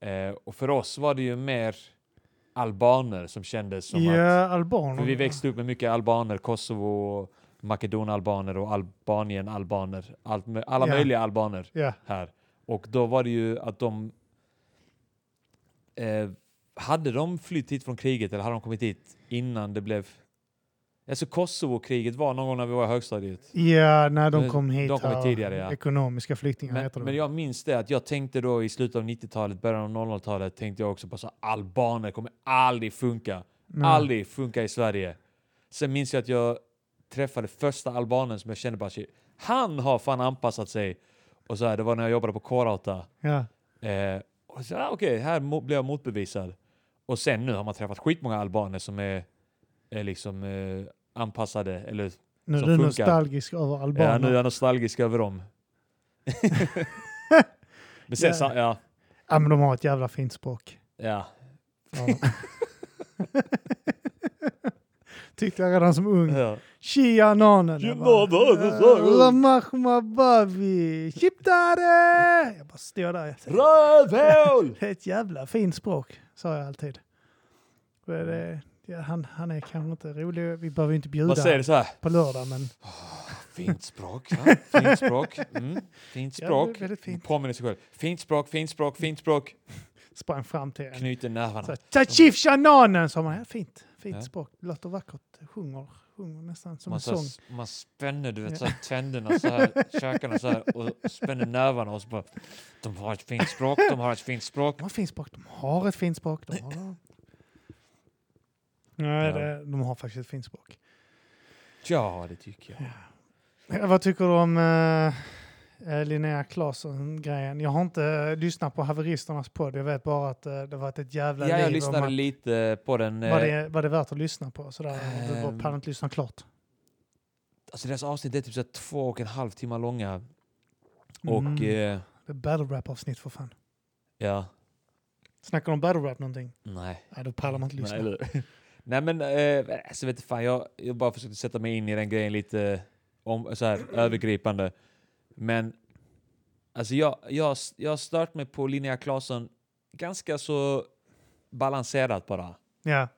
Eh, och för oss var det ju mer albaner som kändes som att...
Ja,
För
albaner.
vi växte upp med mycket albaner, Kosovo, och Makedonalbaner och Albanien-albaner. Allt, mö- alla
Ja.
möjliga albaner
Ja.
här. Och då var det ju att de... Eh, hade de flytt hit från kriget eller hade de kommit hit innan det blev... Alltså Kosovo-kriget var någon gång när vi var i högstadiet.
ja, när de
Men
kom hit.
de kom hit
här.
tidigare, ja.
Ekonomiska flyktingar
Men,
heter de.
men jag minns det att jag tänkte då i slutet av 90-talet, början av 00-talet tänkte jag också på så här, albaner kommer aldrig funka.
Nej.
Aldrig funka i Sverige. Sen minns jag att jag träffade första albanen som jag kände bara shit, han har fan anpassat sig. Och så här, det var när jag jobbade på K8.
Ja.
Eh, och så, ah, okej, här mo- blev jag motbevisad. Och sen nu har man träffat skitmånga albaner som är, är liksom eh, anpassade eller
Nu är
som
du
funkar.
nostalgisk över
Ja, nu
albaner.
är
Ja,
jag nostalgisk över dem. Men sen,
Ja.
sa- ja,
men de har ett jävla fint språk.
ja.
Ja. Tyckte jag redan som ung.
ja.
Tjiananen.
Tjenanen, det sa
"Eh,
jag.
Ramachmabavi. Chiptare! Jag bara stod där.
Rövhål!
Det är ett jävla fint språk, sa jag alltid. Men det, ja, han, han är kanske inte rolig. Vi behöver ju inte bjuda
Man säger det så här.
honom på lördag, men
Fint språk, va? fint språk. Mm. Fint
Ja,
språk.
det är väldigt fint.
Påminner sig själv. Fint språk, fint språk, fint språk.
sprang fram till en.
Knyter nävarna.
Tjatjifjananen, sa man. Ja, fint. Fint
Ja.
språk. Det låter vackert. Sjunger, sjunger nästan som
Man,
en
så här,
sång.
s- man spänner du
Ja.
vet, så här, tänderna så här, käkarna så här och spänner nävarna och så bara De har ett fint språk, de har ett fint språk.
De har fint språk. De har ett fint språk. De har, Nej,
Ja.
det, de har faktiskt ett fint språk.
Ja, det tycker jag.
Ja, Vad tycker du om eh, eh, Linnea Claesson-grejen? Jag har inte eh, lyssnat på haveristernas podd. Jag vet bara att eh, det varit ett jävla
Ja, jag
liv. om
lyssnade
att-
lite på den. eh,
Var det, var det värt att lyssna på? Sådär, eh, du bara
Ehm.
pallade inte lyssna klart.
Alltså deras avsnitt är typ så här två och en halv timme långa. Och
Mm.
eh,
Det är battle rap-avsnitt för fan.
ja,
Snackar de om battle rap någonting?
nej.
Nej, då pallar man inte lyssna.
Nej, eller- Nej men, eh, alltså vet du fan, jag, jag bara försökte sätta mig in i den grejen lite om, så här, övergripande. Men alltså jag, jag, jag har stört mig på Linnea Claesson ganska så balanserat bara.
ja.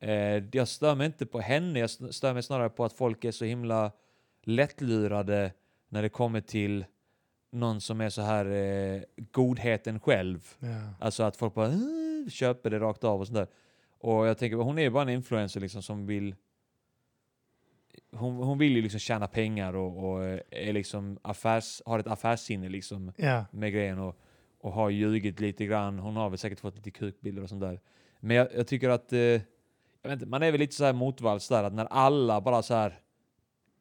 Eh, jag stör mig inte på henne, jag st- stör mig snarare på att folk är så himla lättlurade när det kommer till någon som är så här eh, godheten själv.
Ja.
Alltså att folk bara "Eh", köper det rakt av och sådär. Och jag tänker, hon är ju bara en influencer liksom som vill... Hon, hon vill ju liksom tjäna pengar och, och eh, är liksom affärs, har ett affärssinne liksom
ja.
med grejen och, och har ljugit lite grann. Hon har väl säkert fått lite kukbilder och sånt där. Men jag, jag tycker att... Eh, jag vet inte, man är väl lite så här motvalls där att när alla bara så här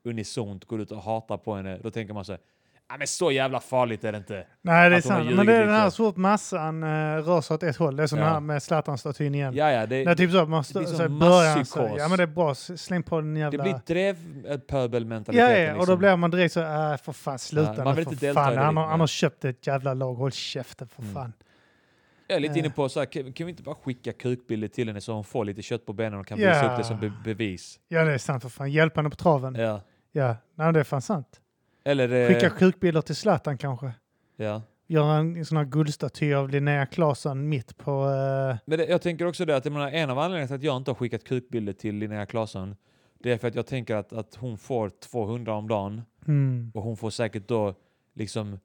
unisont går ut och hatar på henne, då tänker man så här, "Ah, men så jävla farligt är det inte.
Nej, det är
Att de har
sant.
ljugit
Men det är den här
lite.
så fort massan eh, rör sig åt ett håll. Det är som
Ja.
den här med Zlatan-statyn igen.
Ja, ja,
Det är
det,
typ så att man
blir
stå, så
som
här, början så,
masspsykos.
ja men det är bra, S- släng på den
det
jävla...
blir eh,
ja,
drevpöbelmentaliteten.
ja, och då blir man direkt så här, äh, för fan sluta
Ja, man
nu
vill
för
inte delta i
fan,
det
han har,
riktigt,
han
nej.
har köpt ett jävla lag, håll käften för
Mm.
fan.
Jag är lite
Ja.
inne på så här, kan, kan vi inte bara skicka kukbilder till henne så hon får lite kött på benen och kan
Ja.
visa upp det som be bevis?
Ja det är sant för fan, hjälp henne på traven. Ja,
Ja.
nej men det är fan sant.
Eller... eh,
Skicka sjukbilder till Zlatan kanske.
ja.
Göra en sån här guldstaty av Linnea Claesson mitt på... eh,
Men det, jag tänker också det att jag menar, en av anledningarna till att jag inte har skickat kukbilder till Linnea Claesson, det är för att jag tänker att, att hon får 200 om dagen
mm.
och hon får säkert då liksom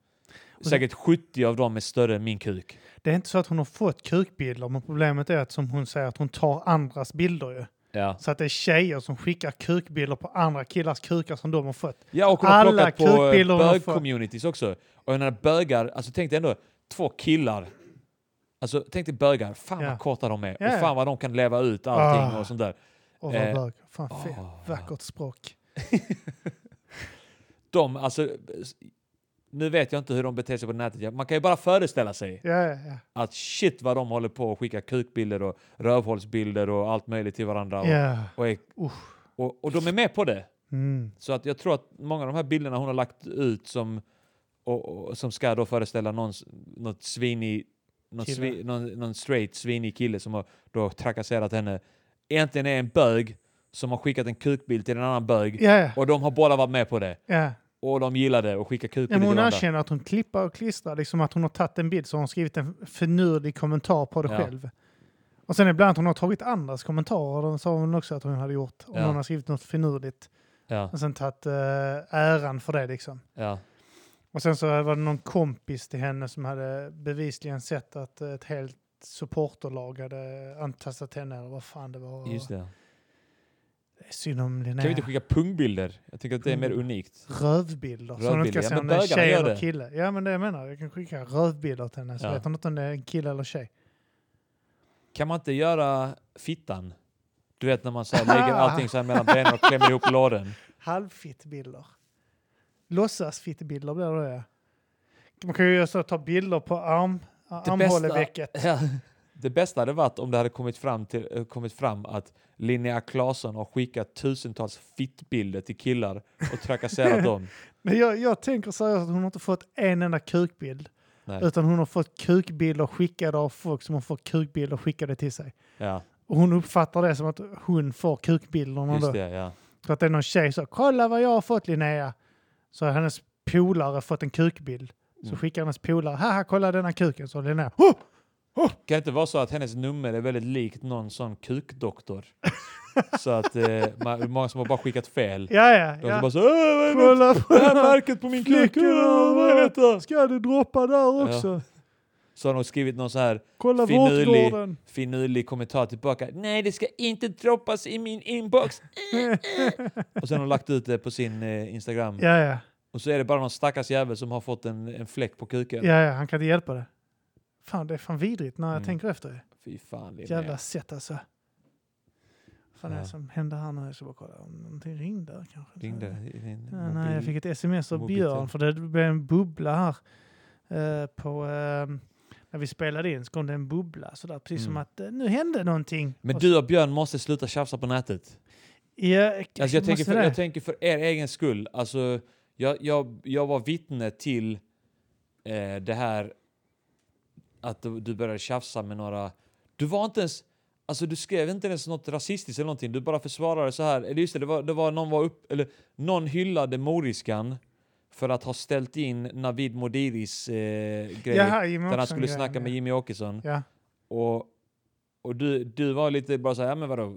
så-
säkert 70 av dem är större än min kuk.
Det är inte så att hon har fått kukbilder, men problemet är att som hon säger att hon tar andras bilder ju.
Ja,
Så att det är tjejer som skickar kukbilder på andra killars kukar som de har fått.
ja och hon har
Alla
plockat på eh,
kukbilder hon har fått.
bög-communities också. Och när bögar, alltså tänk dig ändå två killar. Alltså tänk dig bögar, fan
Ja.
vad korta de är
Ja, ja.
och fan vad de kan leva ut allting
Ah.
och sånt där.
Och
Eh,
vad bög. Fan, fe-
ah.
vackert språk.
De, alltså, nu vet jag inte hur de beter sig på nätet, man kan ju bara föreställa sig.
Ja, ja, ja.
att shit vad de håller på och skicka kukbilder och rövhålsbilder och allt möjligt till varandra. Och,
ja.
och, är, och, och de är med på det.
Mm.
Så att jag tror att många av de här bilderna hon har lagt ut som, och, och, som ska då föreställa någons, något svinig, någon,
Kille.
svi, någon, någon straight svinig kille som har då trakasserat henne, egentligen är en bög som har skickat en kukbild till en annan bög.
ja, ja.
Och de har båda varit med på det.
ja.
Och de gillade och skicka
Ja,
kukbilder
men
till
hon
varandra.
erkänner att hon klippar och klistrar, liksom att hon har tagit en bild så har hon skrivit en finurlig kommentar på det
Ja.
själv. Och sen ibland att hon har tagit andras kommentarer, de sa hon också att hon hade gjort, om
Ja.
hon har skrivit något finurligt.
Ja,
Och sen tagit eh, äran för det liksom.
ja,
Och sen så var det någon kompis till henne som hade bevisligen sett att ett helt supporterlag hade antastat henne eller vad fan det var.
just det.
Det är Synd om Linnea.
Kan vi inte skicka pungbilder? Jag tycker att det är
Mm.
mer unikt.
Rövbilder. Så hon ska
Rövbilder, ja,
se
men
om det är en
bögarna
tjej
gör
eller
det.
kille. Ja men det jag menar, jag kan skicka rövbilder till henne så
Ja.
vet hon inte om det är en kille eller tjej.
Kan man inte göra fittan? Du vet när man så här lägger allting så här mellan benen och klämmer ihop låren.
Halvfittbilder. Låtsasfittbilder blir det då, ja. Man kan ju göra så att ta bilder på arm, armhålevecket.
Ja. Det bästa hade varit om det hade kommit fram, till, eh, kommit fram att Linnea Claesson har skickat tusentals fittbilder till killar och trakasserat dem.
Men jag, jag tänker seriöst att hon har inte fått en enda kukbild.
Nej.
Utan hon har fått kukbilder skickade av folk som har fått kukbilder skickade till sig.
Ja,
Och hon uppfattar det som att hon får kukbilderna
just
då.
det. Ja.
Så att det är någon tjej som kolla vad jag har fått Linnea. Så har hennes polare fått en kukbild. Så
Mm.
skickar hennes polare, haha kolla denna kuken. Så Linnea, oh!
Kan det inte vara så att hennes nummer är väldigt likt någon sån kukdoktor? så att eh, man, många som har bara skickat fel.
ja ja,
De som
ja.
bara så "Äh, vad är
Kolla
det?
på
Det här
denna
märket på min kuk,
flickan,
äh, vad är detta?
ska du droppa där
Ja.
också?
Så har de skrivit någon så här
Kolla
Finurlig. Mm.
vårtgården.
finurlig kommentar tillbaka. Nej, det ska inte droppas i min inbox. och sen har hon lagt ut det på sin eh, Instagram.
Ja ja,
Och så är det bara någon stackars jävel som har fått en, en fläck på kuken.
ja ja, han kan inte hjälpa det. Fan det är fan vidrigt när jag
Mm.
tänker efter.
Fy fan, Linnea.
Jävla sätt alltså. Fan är det
Ja.
som hände här nu? Jag ska bara kolla om någonting ringde där kanske.
Ringde i din
Ja,
mobil.
Eh, nej, jag fick ett sms av
mobil-
Björn för det blev en bubbla här. eh, på, eh, när vi spelade in så kom det en bubbla sådär, precis som
Mm.
att eh, nu hände någonting.
Men
Och
du och Björn måste sluta tjafsa på nätet.
så- Ja,
Alltså, jag, tänker
måste
för,
det.
jag tänker för er egen skull. Alltså, jag, jag, jag var vittne till eh, det här att du, du började tjafsa med några... Du var inte ens... Alltså du skrev inte ens något rasistiskt eller någonting. Du bara försvarade så här. Eller just det, det var, det var någon var upp... Eller någon hyllade moriskan för att ha ställt in Navid Modiris eh, grej.
Ja, här, Jimmy
där han
Åkesson
skulle
grejen,
snacka med
ja.
Jimmy Åkesson.
Ja.
Och, och du, du var lite bara såhär, ja men vadå,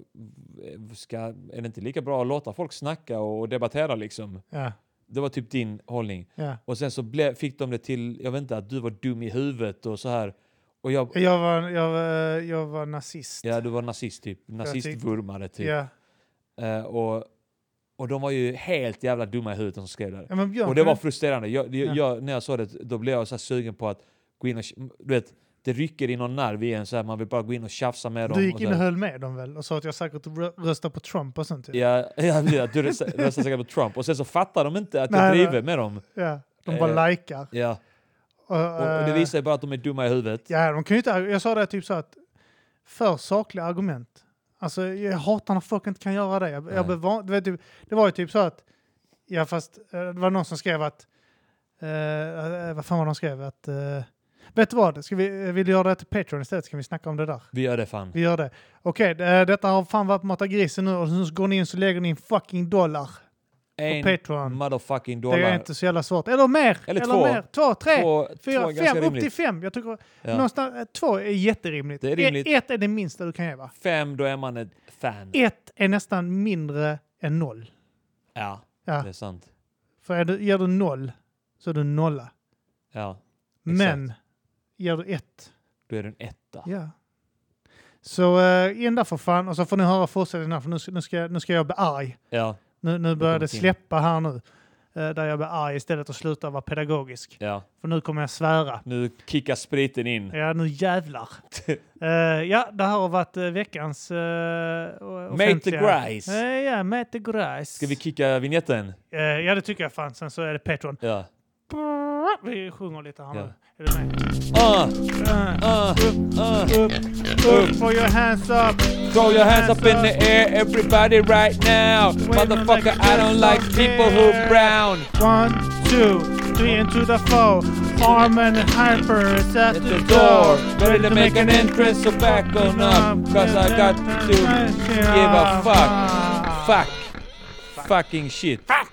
ska, är det inte lika bra att låta folk snacka och, och debattera liksom?
Ja.
Det var typ din hållning.
Ja.
Och sen så ble, fick de det till, jag vet inte, att du var dum i huvudet och så här. Och jag,
Jag, var, jag, var, eh, jag var nazist.
ja du var nazist typ. Nazistvurmare typ.
Ja.
Eh, och, och de var ju helt jävla dumma i huvudet de som skrev det.
Ja, men Björn,
Och det var
kunde-
frustrerande. Jag, det-
Ja.
jag, när jag såg det, då blev jag så här sugen på att gå in och... Du vet, det rycker i någon nerv i en så här, man vill bara gå in och tjafsa med dem.
du gick
så
in och
här.
höll med dem väl och sa att jag säkert rö- röstar på Trump och sånt. Typ.
Ja, ja, ja, du röst- röstar säkert på Trump. Och sen så fattar de inte att
Nej,
jag
nej.
driver med dem.
Ja, de bara
Eh,
likar.
Ja.
Och,
Och, och det
eh,
visar ju bara att de är dumma i huvudet.
Ja, de kan ju inte, jag sa det typ så att för sakliga argument. Alltså jag hatar när folk inte kan göra det. Jag, jag
Nej.
blev van, du vet, typ- det var ju typ så att, ja fast eh, det var någon som skrev att, eh, eh, vad fan var det de skrev? Att, eh, vet du vad, Ska vi, eh, vill du göra det till Patreon istället så kan vi snacka om det där.
Vi gör det fan.
Vi gör det. Okej, det, detta har fan varit Mata Grisen nu och sen så går ni in så lägger ni en fucking dollar på
En
Patreon.
motherfucking
Det är
dollar.
inte så jävla svårt. Eller mer!
Eller två.
mer. två tre!
Två, två
Fyra,
är ganska
fem, upp till
rimligt.
fem. Jag tycker
Ja.
Någonstans, eh, två är jätterimligt.
Det är rimligt.
E- Ett är det minsta du kan ge va?
Fem, då är man ett fan.
Ett är nästan mindre än noll.
Ja,
Ja.
det är sant.
För är du, ger du noll så är du nolla.
Ja,
Men ger du ett,
då är du en etta.
ja. Så eh, in där för fan och så får ni höra fortsättningen här för nu, ska- nu, ska, nu ska jag bli arg.
Ja,
Nu, nu börjar det
till.
släppa här nu. eh, Där jag blir arg istället och slutar vara pedagogisk.
ja.
För nu kommer jag svära.
Nu kickar spriten in.
Ja, nu jävlar. Eh, ja, det här har varit eh, veckans uh, offentliga...
Mate the Grice.
Eh, ja, Mate the Grice.
Ska vi kicka vignetten?
Eh, ja, det tycker jag fan. Sen så är det Patreon.
Ja.
Vi sjunger lite här nu.
Ja.
Är du med?
Ah,
Eh,
ah, ah.
upp, upp, for your hands up!
Throw your hands up in the air, everybody right now. Motherfucker, I don't like people who brown.
One, two, three and to the four. Armin Harper is at
At
the
the
door.
door, ready to make an entrance, so back on up. Cause I got to give a fuck. Fuck. Fucking shit.